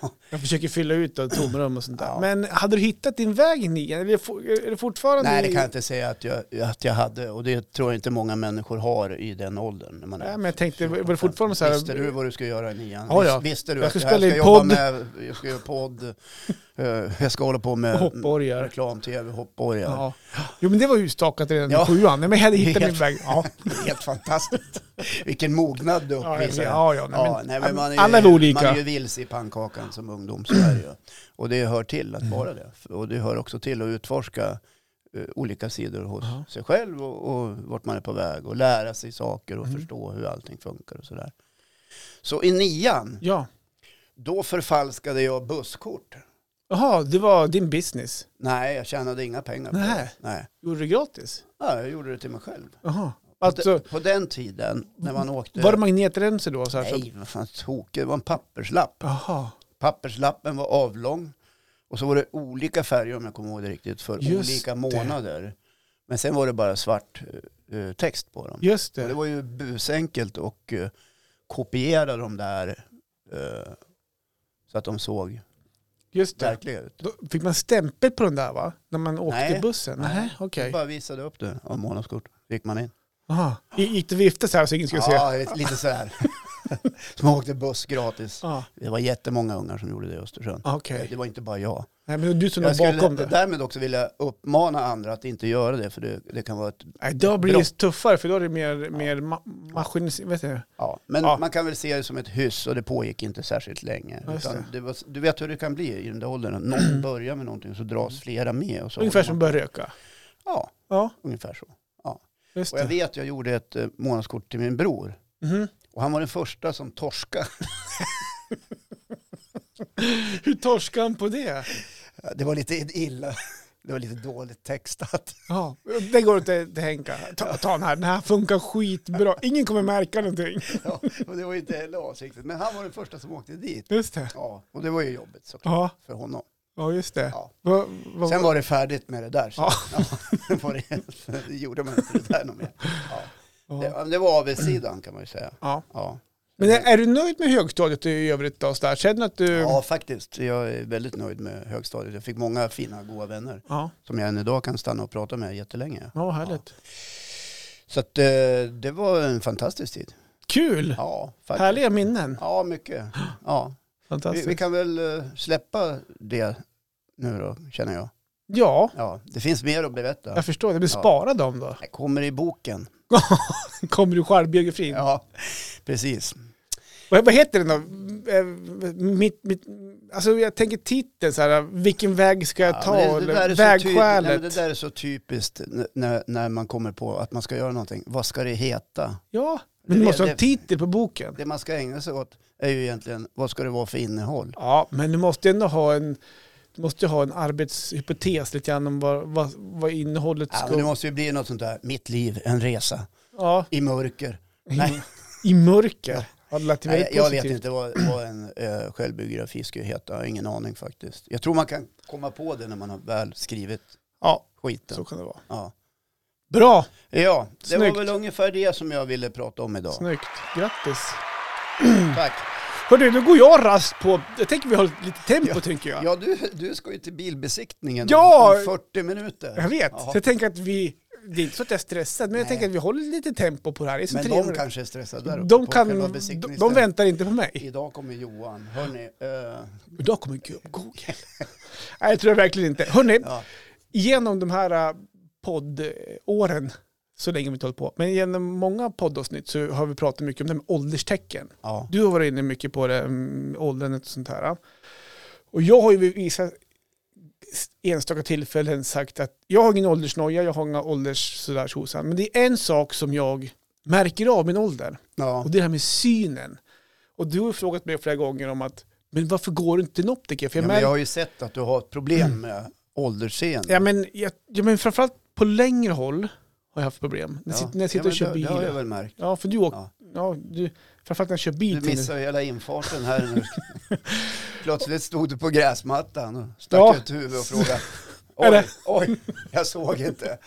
Ja.
Jag försöker fylla ut då, tomrum och sånt där.
Ja.
Men hade du hittat din väg in i? Är det, for, är det fortfarande...
Nej, det
i-
kan jag inte säga att jag, att jag hade. Och det tror jag inte många människor har i den åldern. När man är
Nej, men jag tänkte, var
14,
det fortfarande så här...
Visste du vad du ska göra i nian?
Ja, ja.
Vis- Visste du
Jag
att
ska
det här
spela in
jobba
podd.
med, jag ska göra podd, eh, jag ska hålla på med
Hoppborgar.
reklam-tv, hoppborgar.
Ja. Jo, men det var ju stakat redan
Ja.
i sjuan. Nej, men jag hade hittat min
Helt-
väg. Ja,
Helt fantastiskt. Vilken mognad du
ja,
uppvisar.
ja, ja nej, men,
Ja, nej, men man är ju,
alla är olika.
Man är ju vilse i pannkakan som ungdom, så är det ju. Och det hör till att vara det. Och det hör också till att utforska eh, olika sidor hos
Ja.
sig själv och, och vart man är på väg och lära sig saker och
Mm.
förstå hur allting funkar och sådär. Så i nian,
Ja.
då förfalskade jag busskort.
Jaha, det var din business.
Nej, jag tjänade inga pengar på
Nej.
det. Nej.
Gjorde du det gratis?
Ja, jag gjorde det till mig själv.
Jaha.
på,
Alltså, Mm.
de, på den tiden, när man åkte...
var det magnetremsor då? Så här,
Nej, vad fan tokigt. Det var en papperslapp.
Så, jaha.
Papperslappen var avlång och så var det olika färger om jag kommer ihåg det riktigt för
Just
olika
det.
månader. Men sen var det bara svart eh, text på dem.
Just
Och det
det.
var ju busenkelt och eh, kopiera de där eh, så att de såg
Just det.
verkliga ut.
Då fick man stämpel på den där va? När man åkte
Nej.
bussen? Nej, okej.
Jag bara visade upp det av månadskort. Då gick man in.
Jaha. I- Gick det att vifta så här så ingen skulle se?
Ja, lite sådär. som åkte buss gratis.
Ja.
Det var jättemånga ungar som gjorde det i Östersund.
Okej.
Det var inte bara jag.
Nej, men du som
Jag
låg
skulle
bakom det.
därmed också vilja uppmana andra att inte göra det, för det, det kan vara ett...
Nej, då blir det
Brott.
tuffare för då är det mer, mer ma- maskinis... Vet du?
Ja. Men
Ja.
man kan väl se det som ett hyss och det pågick inte särskilt länge.
Ja, just
Utan
det.
det var, du vet hur det kan bli i den där åldern, att någon börjar med någonting så dras flera med. Och så
Mm. Ungefär
håller
som
man-
börja röka.
Ja,
Ja,
ungefär så.
just
Och jag
det.
vet, jag gjorde ett eh, månadskort till min bror.
Mhm.
Och han var den första som torska.
Hur torskade han på det?
Det var lite illa. Det var lite dåligt textat.
Ja, det går till, till Henka. Ta, ta den här, den här funkar skitbra. Ingen kommer märka någonting.
Ja, och det var ju inte heller avsiktligt. Men han var den första som åkte dit.
Just det.
Ja, och det var ju jobbigt såklart
Ja,
för honom.
ja just det.
Ja.
Va, va,
Sen var det färdigt med det där. Så.
Ja.
Ja. var det, det gjorde man inte det där något mer. Ja.
ja.
Det, det var avigsidan kan man ju säga.
Ja.
Ja.
Men är, är du nöjd med högstadiet i övrigt då? Så där? Känner du att du...
ja, faktiskt. Jag är väldigt nöjd med högstadiet. Jag fick många fina, goda vänner
ja.
som jag än idag kan stanna och prata med jättelänge.
Ja, härligt.
Så att, eh, det var en fantastisk tid.
Kul!
Ja, faktiskt.
Härliga minnen.
Ja, mycket. Ja. Vi,
Fantastiskt.
vi kan väl eh, släppa det nu då, känner jag.
Ja,
Ja, det finns mer att berätta.
jag förstår det. Men
Ja.
spara dem då.
Det kommer i boken.
Kommer du självbiografin?
Ja, precis.
Vad, vad heter den då? Eh, Mitt, mitt, alltså jag tänker titeln så här, vilken väg ska jag
Ja,
ta?
men det, det, där är
eller
så typ- nej, men
vägskälet?
det där är så typiskt n- när, när man kommer på att man ska göra någonting. Vad ska det heta?
ja, men
det-
du måste ha
det-
en titel på boken.
Det man ska ägna sig åt är ju egentligen, vad ska det vara för innehåll?
Ja, men du måste ändå ha en, du måste ju ha en arbetshypotes lite grann om vad, vad, vad innehållet
Ja,
ska...
men det måste ju bli något sånt där, mitt liv, en resa,
ja,
i mörker. Nej,
I mörker. Ja, det lät ju
nej
väldigt
jag vet
positivt.
inte vad, vad en eh, självbiografi ska heta, jag har ingen aning faktiskt. Jag tror man kan komma på det när man har väl skrivit
Ja,
skiten.
så kan det vara.
Ja,
Bra,
ja det
Snyggt.
var väl ungefär det som jag ville prata om idag.
snyggt. Grattis.
Tack.
Hördu, nu går jag rast på... Jag tänker vi har lite tempo, tänker jag.
Ja, du, du ska ju till bilbesiktningen om-
Ja!
om 40 minuter.
Jag vet.
Ja.
Så jag tänker att vi... Det är inte så att jag är stressad, men jag
Nej.
tänker att vi håller lite tempo på det här. Det är så
Men de
trevligt.
kanske är stressade där uppe
de,
på
kan,
själva
de,
besiktningsstället.
de väntar inte på mig.
Idag kommer Johan. Hörni, eh,
Idag kommer gubb Google. Nej, jag tror jag verkligen inte. Hörrni,
ja,
genom de här äh, poddåren, så länge vi inte hållit på, men genom många poddavsnitt så har vi pratat mycket om det här med ålderstecken.
ja,
Du har varit inne mycket på det, mm, åldrandet och sånt här. Och jag har ju vid vissa enstaka tillfällen sagt att jag har ingen åldersnoja, jag har inga ålders sådär tjosan. Men det är en sak som jag märker av min ålder.
ja.
Och det är det här med synen. Och du har frågat mig flera gånger om att, men varför går du inte till en optiker? För
ja
jag
men
märker,
jag har ju sett att du har ett problem med åldersseende.
Mm. ja, men, jag, ja, men framförallt på längre håll har jag haft problem. När jag sitter, när jag sitter och
men
kör
det,
bil.
Det har jag väl märkt.
Ja, för du åker,
Ja.
ja. du, framförallt när jag kör bil.
Du
till-
missar ju hela infarten här nu. Plötsligt stod du på gräsmattan och stack
Ja.
ut huvudet och frågade Oj,
Eller?
oj, jag såg inte.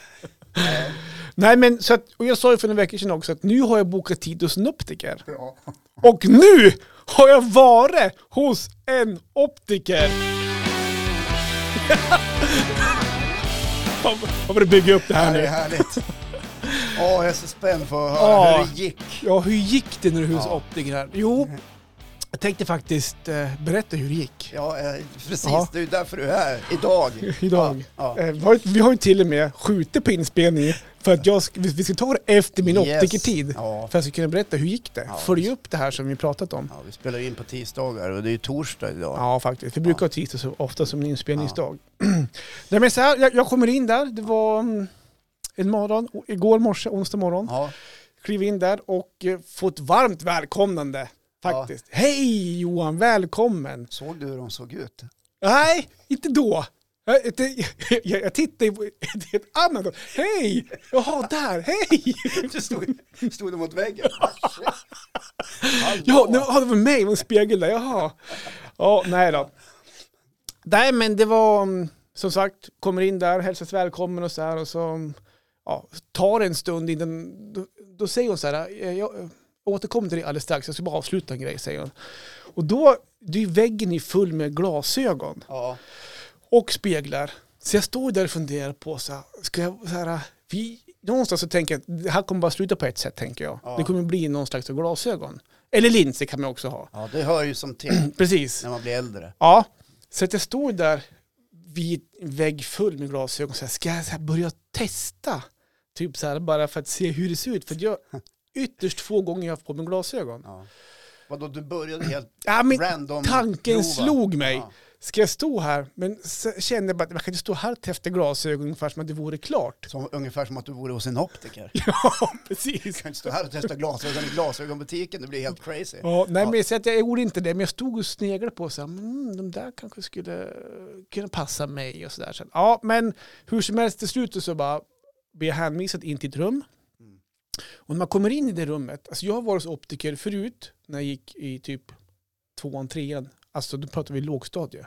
Nej men så att, och jag sa ju för några veckor sedan också att nu har jag bokat tid hos en optiker.
Ja.
Och nu har jag varit hos en optiker! Fan, Vad var det bygga upp det
Ja,
här
det är
nu?
härligt. Åh, jag är så spänd på att höra
Ja.
hur det gick.
Ja, hur gick det när du hos
Ja.
optiker här? Jo, jag tänkte faktiskt eh, berätta hur det gick.
Ja, eh, precis.
Ja.
Det är ju därför du är här idag.
Idag.
Ja, ja.
Eh, vi har ju- Vi har ju till och med skjutit på inspelningen för att jag, sk- vi vi ska ta det efter min
Yes.
optikertid.
Ja.
För att jag ska kunna berätta hur gick det?
Ja.
Följ upp det här som vi pratat om.
Ja, vi spelar ju in på tisdagar och det är ju torsdag idag.
Ja, faktiskt. Vi brukar ha tisdag så ofta som en inspelningsdag. Nej, men så här, jag, jag kommer in där, det var mm, en morgon, o- igår morse, onsdag morgon.
Ja.
Kliver in där och eh, får ett varmt välkomnande. Faktiskt. Hej Johan, välkommen!
Såg du hur de såg ut?
Nej, inte då. Jag, inte- jag, jag tittar ju på det är ett annat håll. Hej! Jaha, där. Hej!
Du stod, stod de mot väggen? Hallå.
Ja, det var, det var mig, det var en spegel där. Jaha. Ja, nej då. Nej, men det var mm, som sagt, kommer in där, hälsas välkommen och så här och så mm, ja, tar det en stund innan, då, då säger hon så här, eh, jag eh, återkommer till dig alldeles strax, jag ska bara avsluta en grej, säger hon. Och då, det är ju väggen är full med glasögon
Ja.
och speglar. Så jag står där och funderar på så här, ska jag så här, vi, någonstans så tänker jag, att det här kommer bara sluta på ett sätt tänker jag.
Ja.
Det kommer bli någon slags glasögon. Eller linser kan man också ha.
ja, det hör ju som till
Precis.
när man blir äldre.
Ja, så att jag stod där vid en vägg full med glasögon så här, ska jag så här börja testa? Typ så här bara för att se hur det ser ut. För att jag ytterst få gånger jag har haft på mig glasögon.
Ja. Vadå, du började helt
Ja, men
random?
tanken
prova.
slog mig.
Ja.
Ska jag stå här? Men så kände jag bara att jag kan inte stå här och testa glasögon ungefär som att det vore klart.
Som, ungefär som att du vore hos en optiker. Du
Ja, precis.
kan inte stå här och testa glasögon i glasögonbutiken, det blir helt crazy.
Ja, nej,
Ja.
men jag, säger att jag gjorde inte det, men jag stod och sneglade på så här, mm, de där kanske skulle kunna passa mig och sådär. Så, att, ja, men hur som helst till slut så bara blir jag hänvisad in till ett rum. Och när man kommer in i det rummet, alltså jag har varit hos optiker förut när jag gick i typ tvåan, trean, alltså då pratar vi lågstadie.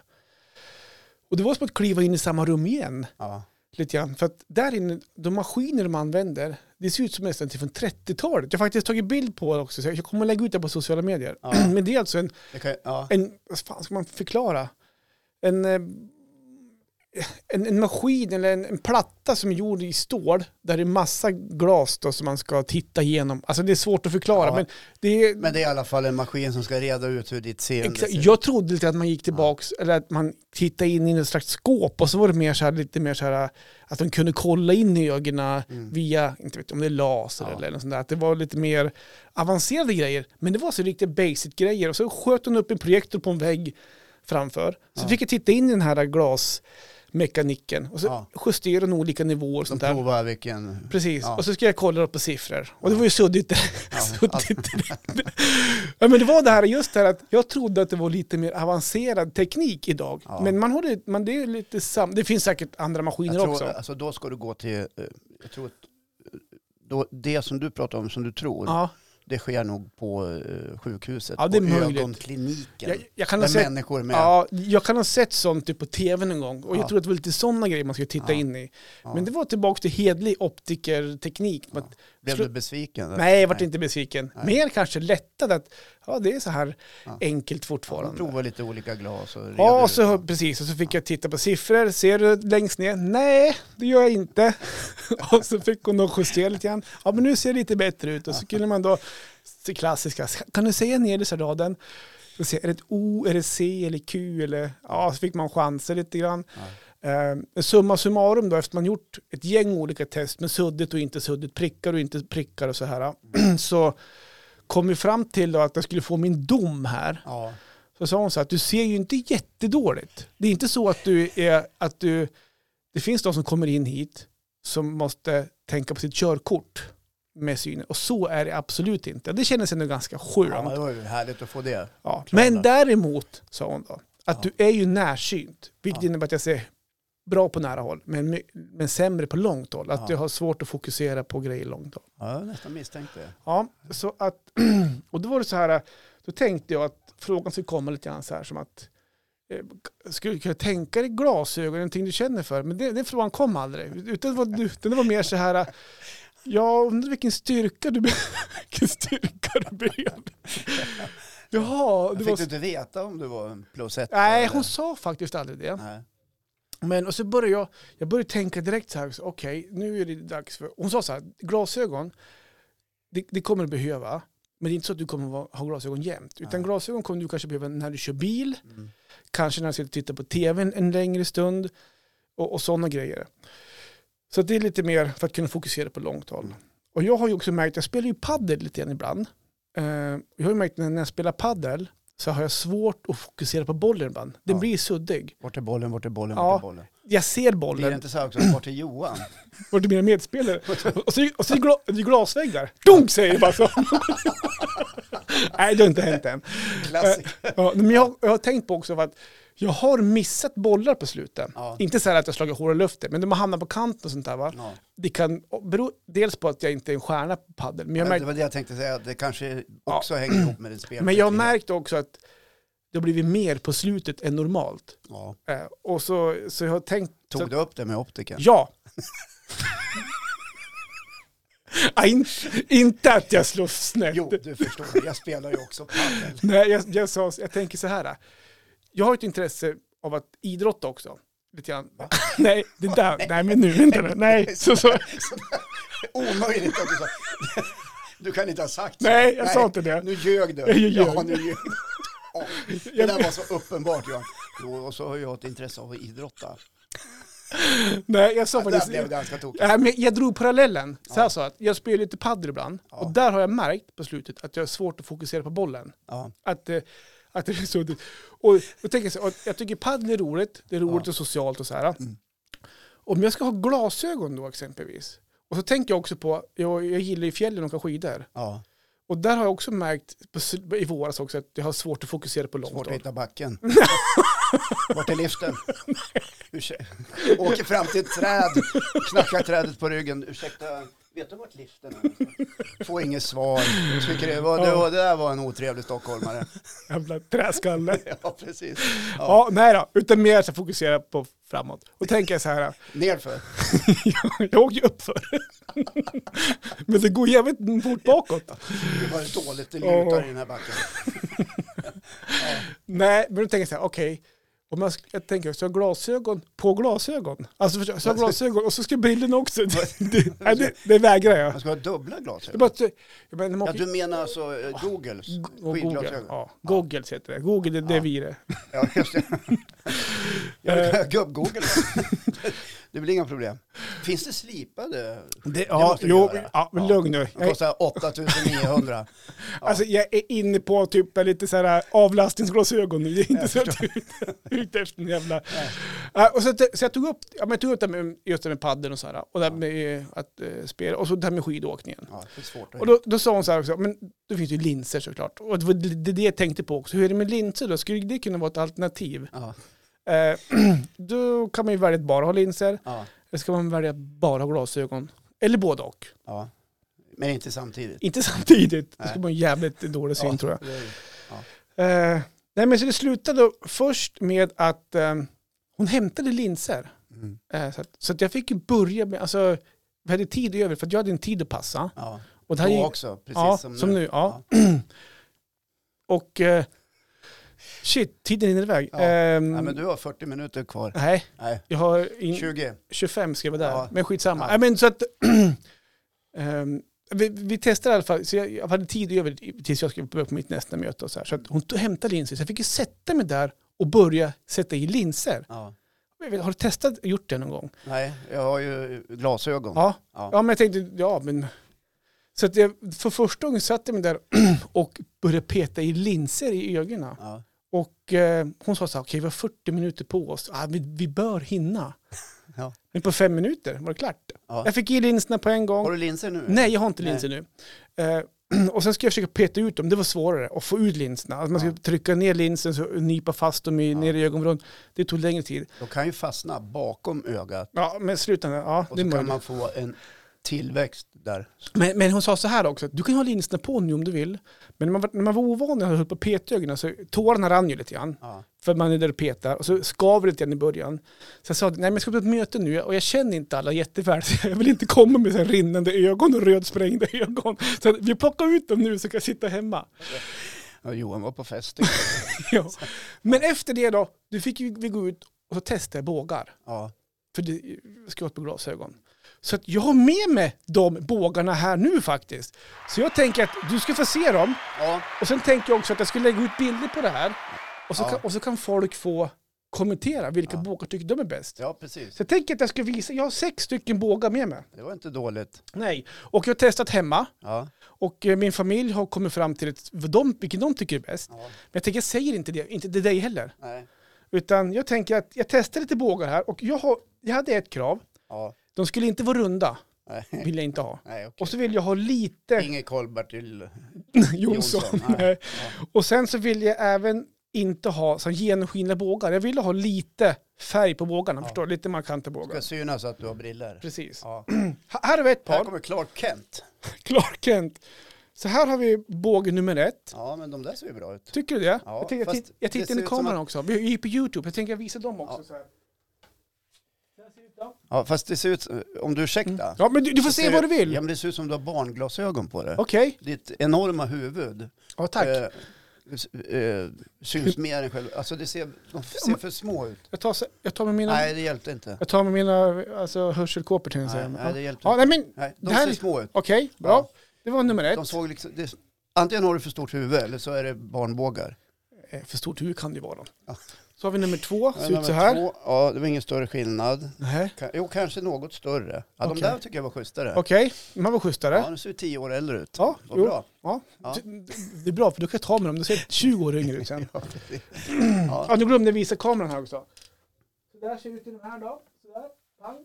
Och det var som att kliva in i samma rum igen.
Ja.
lite grann. För att där inne, de maskiner de använder, det ser ut som nästan till från 30-talet. Jag har faktiskt tagit bild på det också, så jag kommer att lägga ut det på sociala medier.
Ja.
Men det är alltså en,
Det kan, ja.
en, vad fan ska man förklara? En, eh, en, en maskin eller en, en platta som är gjord i stål, där det är massa glas då, som man ska titta igenom. Alltså det är svårt att förklara,
Ja.
men det är...
Men det är i alla fall en maskin som ska reda ut hur ditt seende
Exakt.
ser ut.
Jag trodde lite att man gick tillbaks, eller att man tittade in i något slags skåp och så var det mer så här, lite mer så här att de kunde kolla in i ögonen via, inte vet jag om det är laser
Mm. Ja.
eller något sånt där, att det var lite mer avancerade grejer. Men det var så riktigt basic grejer och så sköt hon upp en projektor på en vägg framför. Så fick jag titta in i den här glasmekaniken och så
Ja.
justerade hon olika nivåer och
Som
sånt där.
provar vilken...
Precis,
Ja.
och så ska jag kolla upp på siffror. Och det var ju suddigt.
Ja.
suddigt. ja, men det var det här, just det här att jag trodde att det var lite mer avancerad teknik idag.
Ja.
Men man har det, man, det är lite sam... Det finns säkert andra maskiner
Jag tror,
också.
alltså då ska du gå till... eh, Jag tror att eh, då, det som du pratar om, som du tror,
Ja,
det sker nog på eh, sjukhuset.
Ja, det är
på
möjligt.
ögonkliniken.
jag, jag, kan ha
där
sett,
människor med...
ja, jag kan ha sett sånt typ på tv någon gång. Och
Ja.
jag tror att det var lite sådana grejer man skulle titta
Ja.
in i.
ja.
Men det var tillbaka till hedlig optikerteknik.
Ja.
Att
Blev
slu-
du besviken?
Nej, jag vart inte besviken.
Nej.
Mer kanske lättad att ja, det är så här
Ja.
enkelt
De
fortfarande.
provar lite olika glas och reder
Ja,
ut
så,
dem.
precis. Och så fick jag titta på siffror. Ser du längst ner? Nej, det gör jag inte. och så fick hon då justera lite grann. Ja, men nu ser det lite bättre ut. Och så kunde man då, det klassiska, kan du säga nedersta raden? Och se, är det ett O, är det C eller Q? Eller, ja, så fick man chanser lite grann. Eh, summa summarum då, efter man gjort ett gäng olika test med suddigt och inte suddigt, prickar och inte prickar och så här, så kom vi fram till då att jag skulle få min dom här.
Ja.
Så sa hon så att du ser ju inte jättedåligt. Det är inte så att du är, att du, det finns de som kommer in hit som måste tänka på sitt körkort med synen. Och så är det absolut inte. Det kändes ändå ganska
ja, men
skönt.
det var ju härligt att få det.
Ja.
klart.
Men däremot, sa hon då, att
Ja.
du är ju närsynt. Vilket
Ja.
innebär att jag ser bra på nära håll, men, my- men sämre på långt håll. Att
Ja.
du har svårt att fokusera på grejer långt håll.
Ja, jag nästan misstänkte.
Ja, så att, och då var det så här, då tänkte jag att frågan skulle komma lite grann så här som att, eh, eh, skulle kunna tänka dig glasögon, någonting du känner för. Men det, den frågan kom aldrig. Utan det var, utan det var mer så här, eh, jag undrar vilken styrka du, be- vilken styrka du behöver. Jaha, det
Fick
var...
du inte veta om du var en plus ett?
Nej,
eller?
hon sa faktiskt aldrig det.
Nej.
Men och så började jag, jag började tänka direkt så här, så, okej, nu är det dags för, hon sa så här, glasögon, det, det kommer du behöva, men det är inte så att du kommer vara- ha glasögon jämt, utan
Nej.
glasögon kommer du kanske behöva när du kör bil,
Mm.
kanske när du sitter och tittar på tv en, en längre stund och, och sådana grejer. Så det är lite mer för att kunna fokusera på långt håll.
Mm.
Och jag har ju också märkt, jag spelar ju paddel lite grann ibland. Eh, jag har ju märkt när när jag spelar paddel så har jag svårt att fokusera på bollen ibland. Den
Ja.
blir suddig.
Vart är bollen, vart är bollen,
Ja.
vart är bollen?
Jag ser
Blir det
bollen,
inte så här också, vart är Johan?
var det mina medspelare? Och så, och så är gla, det är glasvägg där. Dunk säger det bara så. Nej, det har inte hänt än.
Klassiker.
Ja, men jag, jag har tänkt på också att jag har missat bollar på slutet.
Ja.
Inte så här att jag slagit hål i luften, men de har hamnat på kanten och sånt där. Va?
Ja.
Det kan bero dels på att jag inte är en stjärna på padel, men jag har
Det
märkt,
var det jag tänkte säga, att det kanske också hänger ihop med din spelskicklighet.
men jag har märkt också att det har blivit mer på slutet än normalt.
Ja.
Eh, och så, så jag har tänkt... så,
Tog du upp det med optiken?
Ja. Nej, in, inte att jag slår snett.
Jo, du förstår, jag spelar ju också padel.
Nej, jag, jag, sa, jag tänker så här. Jag har ett intresse av att idrotta också. Lite grann. Nej, det där. Nej, men nu. Vänta nu. Nej, så, så.
liksom. Omöjligt att du sa. Du kan inte ha sagt så.
Nej, jag sa inte det.
Nu ljög du.
Jag ljög.
Ja, nu ljög du. Ja, det
Jag-
där var så uppenbart Johan. Jo, och så har jag ett intresse av att idrotta.
Nej, jag sa
Det där
faktiskt...
blev ganska tokigt.
Nej, men jag drog parallellen. Så här sa att jag spelar lite padel ibland.
Ja.
Och där har jag märkt på slutet att jag har svårt att fokusera på bollen.
Ja.
Att, eh, att det är så. Och, och tänker jag, så, att jag tycker padel är roligt, det är roligt och socialt och så här.
Mm.
Om jag ska ha glasögon då exempelvis. Och så tänker jag också på, jag, jag gillar ju fjällen och åka skidor.
ja,
Och där har jag också märkt på, s- i våras också att jag har svårt att fokusera på långt
svårt att
håll.
hitta backen. Vart är liften? Ursäkta. Åker fram till ett träd, knackar trädet på ryggen. Ursäkta, vet du vart liften är? någonstans? Får inget svar. Tycker det, var, det, var, det där var en otrevlig stockholmare.
Jävla träskalle. ja.
Ja, precis. Ja.
nej då. Utan mer så fokusera på framåt. Och tänker jag så här,
Nerför.
jag åker ju uppför. Men det går jävligt fort bakåt.
Det var dåligt, det lutar
Ja.
i den här backen.
Nej, men då tänker jag så här, okej. Om jag, ska- jag tänker, så jag har glasögon på glasögon? Alltså, förstår- så jag har glasögon och så ska brillorna också. Det, det, nej, det, det vägrar jag.
Man ska ha dubbla
Det är
glasögon.
bara, att- jag menar, man
Ja,
åker,
du menar alltså eh, Googles
och Google,
skidglasögon?
ja, Googles heter det. Google, det, det är vi det.
Ja, just det. Jag vill ha
Eh.
gubb-Google. Det blir inga problem. Finns det slipade?
det
det
ja,
måste du
jo,
göra.
ja, men
Ja.
lugn nu.
De
Jag,
kostar 8900.
alltså, jag är inne på typ lite så här avlastningsglasögon nu. Det är inte så att jag är ute efter en jävla... Ja, och så, att- så jag tog upp, ja, men jag tog upp det här med, just det med paddeln och så här. Och det här med eh, att eh, spela. Och så det här med skidåkningen.
Ja, det är svårt att
Och då, då sa hon så här också, men då finns det ju linser såklart. Och det var det, det- det jag tänkte på också, hur är det med linser då? Skulle det kunna vara ett alternativ?
ja,
Eh, då kan man ju välja att bara ha linser,
ja,
eller ska man välja att bara ha glasögon? Eller både och.
ja. Men inte samtidigt.
Inte samtidigt, det
Nej.
skulle vara en jävligt dålig syn
Ja,
tror jag.
det är-
Eh, nej men så det slutade då först med att eh, hon hämtade linser.
Mm.
Eh, så att, så att jag fick ju börja med, alltså vi hade tid över för att jag hade en tid att passa.
Ja,
Och det här
då
gick-
också, precis
ja,
som,
som
nu.
nu. Ja. Och eh, shit, tiden rinner iväg.
Ja.
Ehm,
Ja, men du har 40 minuter kvar.
Nej,
Nej,
jag har in,
20.
25 skrev jag där,
Ja.
men skitsamma.
Ja.
Nej, men så att, ehm, vi, vi testade i alla fall, så jag, jag hade tid över tills jag skulle börja på mitt nästa möte. Och så här. Så att hon tog, hämtade linser, så jag fick ju sätta mig där och börja sätta i linser.
Ja.
Jag vet, Har du testat och gjort det någon gång?
Nej, jag har ju glasögon.
Ja,
Ja.
Ja, men jag tänkte, ja men... Så att jag, för första gången satt jag mig där och började peta i linser i ögonen.
Ja.
Och eh, hon sa så här, okej vi har 40 minuter på oss, ah, vi, vi bör hinna.
Ja.
Men på fem minuter var det klart.
Ja.
Jag fick i linserna på en gång.
Har du linser nu?
Nej, jag har inte
Nej.
linser nu. Eh, och sen ska jag försöka peta ut dem, det var svårare att få ut linserna. Alltså man ska
Ja.
trycka ner linsen och nypa fast dem i,
Ja.
ner i ögonvrån. Det tog längre tid.
De kan ju fastna bakom ögat
Ja, men slutändan, ja
och
det är
så kan
möjligt.
man få en tillväxt där.
Men, men hon sa så här också, att du kan ha linserna på nu om du vill. Men när man, var- när man var ovan och höll på och petade ögonen så tårarna rann ju lite grann.
Ja.
För man är där och petar och så skaver det lite grann i början. Så jag sa, nej men jag ska på ett möte nu och jag känner inte alla jätteväl. Så jag vill inte komma med så här rinnande ögon och rödsprängda ögon. Så att vi plockar ut dem nu så kan jag sitta hemma.
Ja, Johan var på fest. igår.
Ja. Men efter det då, du fick ju vi gå ut och så testade jag bågar.
ja.
För det ska på glasögon. Så att jag har med mig de bågarna här nu faktiskt. Så jag tänker att du ska få se dem.
ja.
Och sen tänker jag också att jag ska lägga ut bilder på det här. Och så,
Ja.
kan, och så kan folk få kommentera vilka
Ja.
bågar tycker de är bäst.
Ja, precis.
Så jag tänker att jag ska visa, jag har sex stycken bågar med mig.
Det var inte dåligt.
Nej. Och jag har testat hemma.
Ja.
Och eh, min familj har kommit fram till ett, vad de, vilken de tycker är bäst.
Ja.
Men jag tänker, jag säger inte det, inte till dig heller.
Nej.
Utan jag tänker att jag testar lite bågar här. Och jag, har, jag hade ett krav.
Ja.
De skulle inte vara runda,
Nej.
vill jag inte ha.
Nej, okej.
Och så vill jag ha lite
Inge Karl-Bertil
Jonsson.
Jonsson,
Nej. Och sen så vill jag även inte ha så genomskinliga bågar. Jag ville ha lite färg på bågarna,
Ja.
förstår du? Lite markanta bågar.
ska synas att du har briller.
Precis.
Ja.
Ha- Här har vi ett
Här
par,
kommer Clark Kent.
Clark Kent. Så här har vi båge nummer ett.
Ja, men de där ser ju bra ut.
Tycker du det?
Ja,
jag, tänkte, jag,
fast
titt, jag
det
tittar
ser
in i
ut som
kameran också. Vi är ju på YouTube, jag tänker jag visa dem också.
Ja.
Så här. Så här ser det ut då.
Ja, fast det ser ut, eh, om du ursäktar.
Mm. Ja, men du, du får se vad du vill.
Ja, men det ser ut som du har barnglasögon på dig.
Okej,
Ditt enorma huvud.
ja, tack.
eh, s- eh, syns mer än själv. Alltså det ser, de ser för små ut.
Jag, tar, så- jag tar med mina,
Nej, det hjälpte inte.
jag tar med mina alltså, hörselkåpor till
Nej,
säga.
nej, det hjälpte
ja, nej, men
Nej, de
Det här
ser
är-
små ut.
Okej, bra.
Ja.
Det var nummer ett.
De såg liksom, det, antingen har du för stort huvud eller så är det barnbågar.
Eh, För stort huvud kan det ju vara.
Ja.
Så har vi nummer två, ser
Nummer
ut så här.
två, ja, det var ingen större skillnad.
Nej.
Ka- Jo, kanske något större. Ja, de
Okej.
där tycker jag var schysstare.
Okej, man var schysstare.
Ja,
Ja.
de ser ju tio år äldre ut.
Ja,
Vad
jo.
bra. Ja.
Det- Det är bra för du kan jag ta med dem, du ser 20 år yngre ut sen.
Ja, precis.
Ja, nu glömde jag visa kameran här också. Så där ser det ut i den här då. Så där, pang.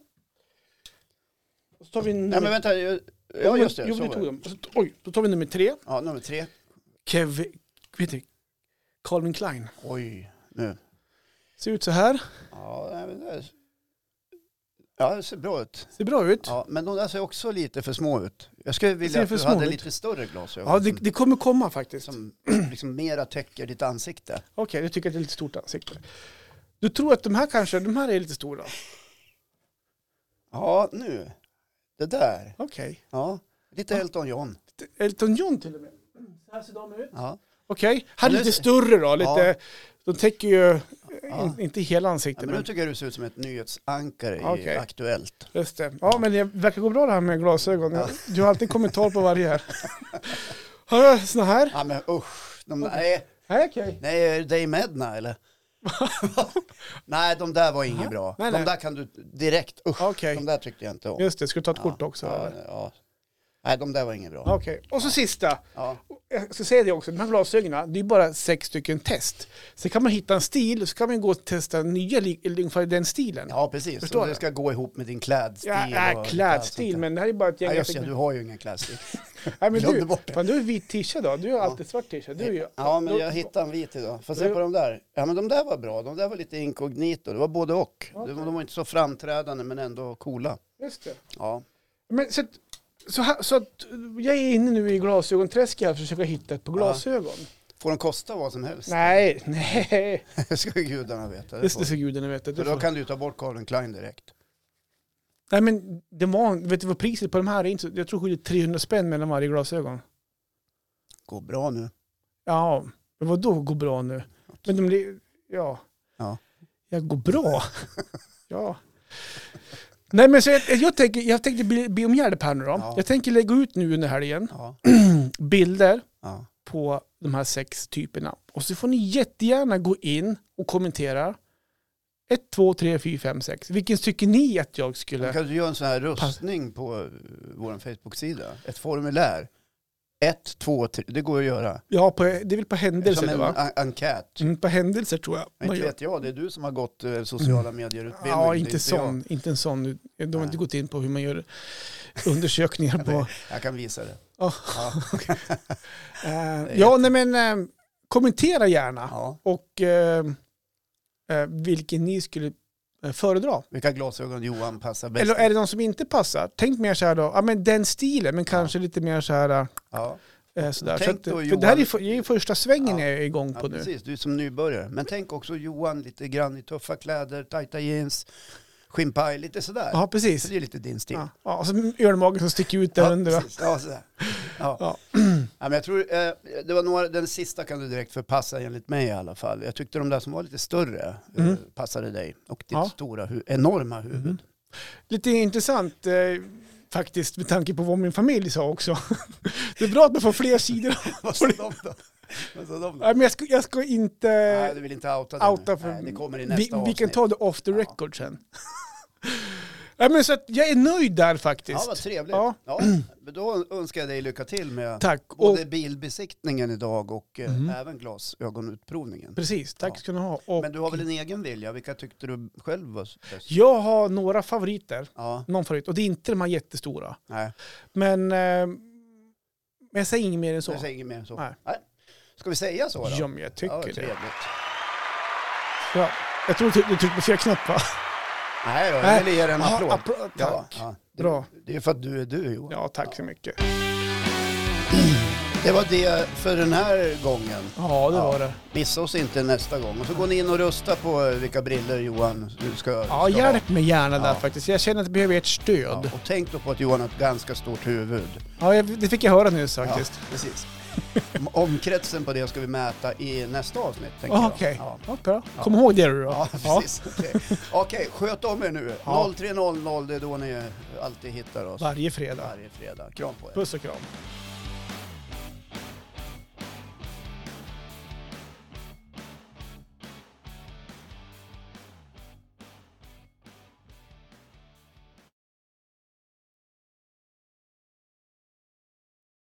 Och så tar vi nummer...
Nej, men vänta. ju- Ja, just det.
Jo,
så
vi
var
tog
det.
dem. Och Så, oj, då tar vi nummer tre.
Ja, nummer tre.
Kevin... Vet du? Calvin Klein.
Oj, nu.
Ser ut så här.
Ja, nej, men det, är- ja, det ser bra ut.
Ser bra ut. Ja,
Ja, men de där ser också lite för små ut. Jag skulle
ser
vilja att
för
du
små
hade
ut.
lite större glasögon.
det, det kommer komma faktiskt.
Som, som liksom mera täcker ditt ansikte.
Okej, du tycker att det är lite stort ansikte. Du tror att de här kanske, de här är lite stora?
Ja, nu. Det där.
Okej.
Ja, lite Elton John.
Elton John till och med. Så här ser de ut.
Ja,
Okej, här är
nu
lite
ser-
större då. Lite,
Ja.
De täcker ju in, inte hela
ja
ansiktet.
men nu
men
tycker jag du ser ut som ett nyhetsankare
Okej.
i Aktuellt.
just det. Ja, men det verkar gå bra det här med glasögon. Du har alltid en kommentar på varje här. Har jag såna här?
Ja, men usch. De, nej,
Nej, okej.
nej, är det Dave Medna eller? nej, de där var inget bra.
Nej,
de
nej.
där kan du direkt, usch.
Okej.
De där tyckte jag inte om.
Just det, ska du ta ett kort också?
Ja,
eller?
ja. Nej, de där var inget bra.
Okej, och så sista.
Ja.
Jag ska säga det också, de här glasögonen, det är bara sex stycken test. Sen kan man hitta en stil, så kan man gå och testa nya, li- eller ungefär den stilen.
Ja, precis.
Förstår
Förstår
du?
det ska gå ihop med din klädstil.
Ja,
och
ja,
allt
klädstil,
sånt där.
men det här är bara ett gäng...
Ja, just det, du har ju ingen klädstil.
Nej, men
glömde
du,
bort det.
fan, du är vit t-shirt då, du har alltid svart t-shirt. Du är ju...
Ja, men jag hittade en vit idag. Får se på de där. Ja, men de där var bra. De där var lite inkognito. Det var både och. De- De var inte så framträdande, men ändå coola.
Just det.
Ja,
Men så, att- så, här, så att jag är inne nu i glasögonträsket här för att försöka hitta ett par glasögon.
får de kosta vad som helst?
Nej, nej.
Det ska ju gudarna veta. Det
Just
får.
det, så gudarna vet det.
För
Du
då
får.
kan du ta bort Calvin Klein direkt.
Nej, men det var, vet du vad priset på de här är? Inte så- Jag tror det är 300 spänn mellan varje glasögon.
Går bra nu.
Ja, men vad då går bra nu? Men de blir, ja.
Ja.
Jag går bra. ja. Nej men så jag, jag, tänker, jag tänkte be, be om hjälp här nu då.
Ja.
Jag tänker lägga ut nu under helgen
Ja.
bilder
ja.
på de här sex typerna. Och så får ni jättegärna gå in och kommentera. ett, två, tre, fyra, fem, sex. Vilken tycker ni att jag skulle...
Kan du göra en sån här röstning på eh, vår Facebook-sida? Ett formulär. Ett, två, tre. Det går att göra.
Ja, på, det är väl på händelser
Som
det,
en
va?
en- enkät.
Mm, på händelser tror jag.
Men
man
Inte
gör. Mm.
vet jag, det är du som har gått eh, sociala medier-utbildning.
Ja,
det är
inte sån. Inte en sån. De har
Nej.
inte gått in på hur man gör undersökningar på...
Jag. jag kan visa det.
Ja.
Ja.
Eh, ja, nej men eh, kommentera gärna.
Ja.
Och eh, eh, vilken ni skulle eh, föredra.
Vilka glasögon Johan passar bäst?
Eller är det någon som inte passar? Tänk mer så här då, ja men den stilen, men kanske lite mer så här.
ja.
Eh, sådär.
Tänk
Så att,
då,
för
Johan.
det här är ju för- det är ju första svängen
Ja.
jag är igång på
ja,
nu.
precis. Du är som nybörjare. Men tänk också Johan lite grann i tuffa kläder, tajta jeans, skimpaj, lite sådär.
Ja, precis.
Så det är lite din stil.
Ja, ja, och så ölmagen som sticker ut där under. va?
precis. Ja, sådär. Ja. Ja.
Ja.
men jag tror, eh, det var några, den sista kan du direkt förpassa enligt mig i alla fall. Jag tyckte de där som var lite större eh,
Mm.
passade dig och ditt
Ja.
stora, hu- enorma huvud.
Mhm. Lite intressant eh, faktiskt med tanke på vad min familj sa också. det är bra att man får fler sidor.
Vad sa de då? Vad sa de då?
Nej, men jag ska, jag ska inte...
Nej, du vill inte outa det nu.
Eh, outa för-
Nej, det kommer i nästa
vi, vi
avsnitt.
kan ta det off the record sen. Nej, men så att jag är nöjd där
Ja,
faktiskt.
vad trevligt. Ja.
Ja.
men då önskar jag dig lycka till med
Tack. Och,
både bilbesiktningen idag och eh,
Mhm.
även glasögonutprovningen.
precis, tack
Ja.
ska ni ha. Och
Men du har väl en egen vilja? Vilka tyckte du själv var bäst?
Jag har några favoriter.
Ja,
Någon favorit. Och det är inte de här jättestora.
nej.
Men, eh, men jag säger inget mer än så.
Jag säger inget mer än så. Nej.
Nej.
Ska vi säga så då?
Ja, men jag tycker
Ja,
det.
trevligt.
Ja. Jag tror du tryckte på fel knapp va?
Nej, då,
Nej.
jag vill ge dig en
Ja,
applåd.
appro- Äh, tack.
Det,
Bra.
Det är för att du är du Johan.
Ja, tack så mycket.
Det var det för den här gången.
Ja, det
Ja.
var det.
Missa oss inte nästa gång. Och så går ni in och rösta på eh, vilka briller Johan du ska,
Ja,
ska ha.
hjälp mig gärna
Ja.
där faktiskt. Jag känner att jag behöver ert
Ja,
stöd.
och tänk då på att Johan har ett ganska stort huvud.
Ja, jag- det fick jag höra nyss faktiskt.
Ja, precis. Om- Omkretsen på det ska vi mäta i nästa avsnitt. tänker
Ja,
jag.
Okej,
Ja.
ja, bra. Kom ihåg det du då.
Ja, precis. Okej. Okej, sköt om er nu.
Ja.
03.00, det är då ni alltid hittar oss.
Varje fredag.
Varje fredag. Kram på er.
Puss och kram.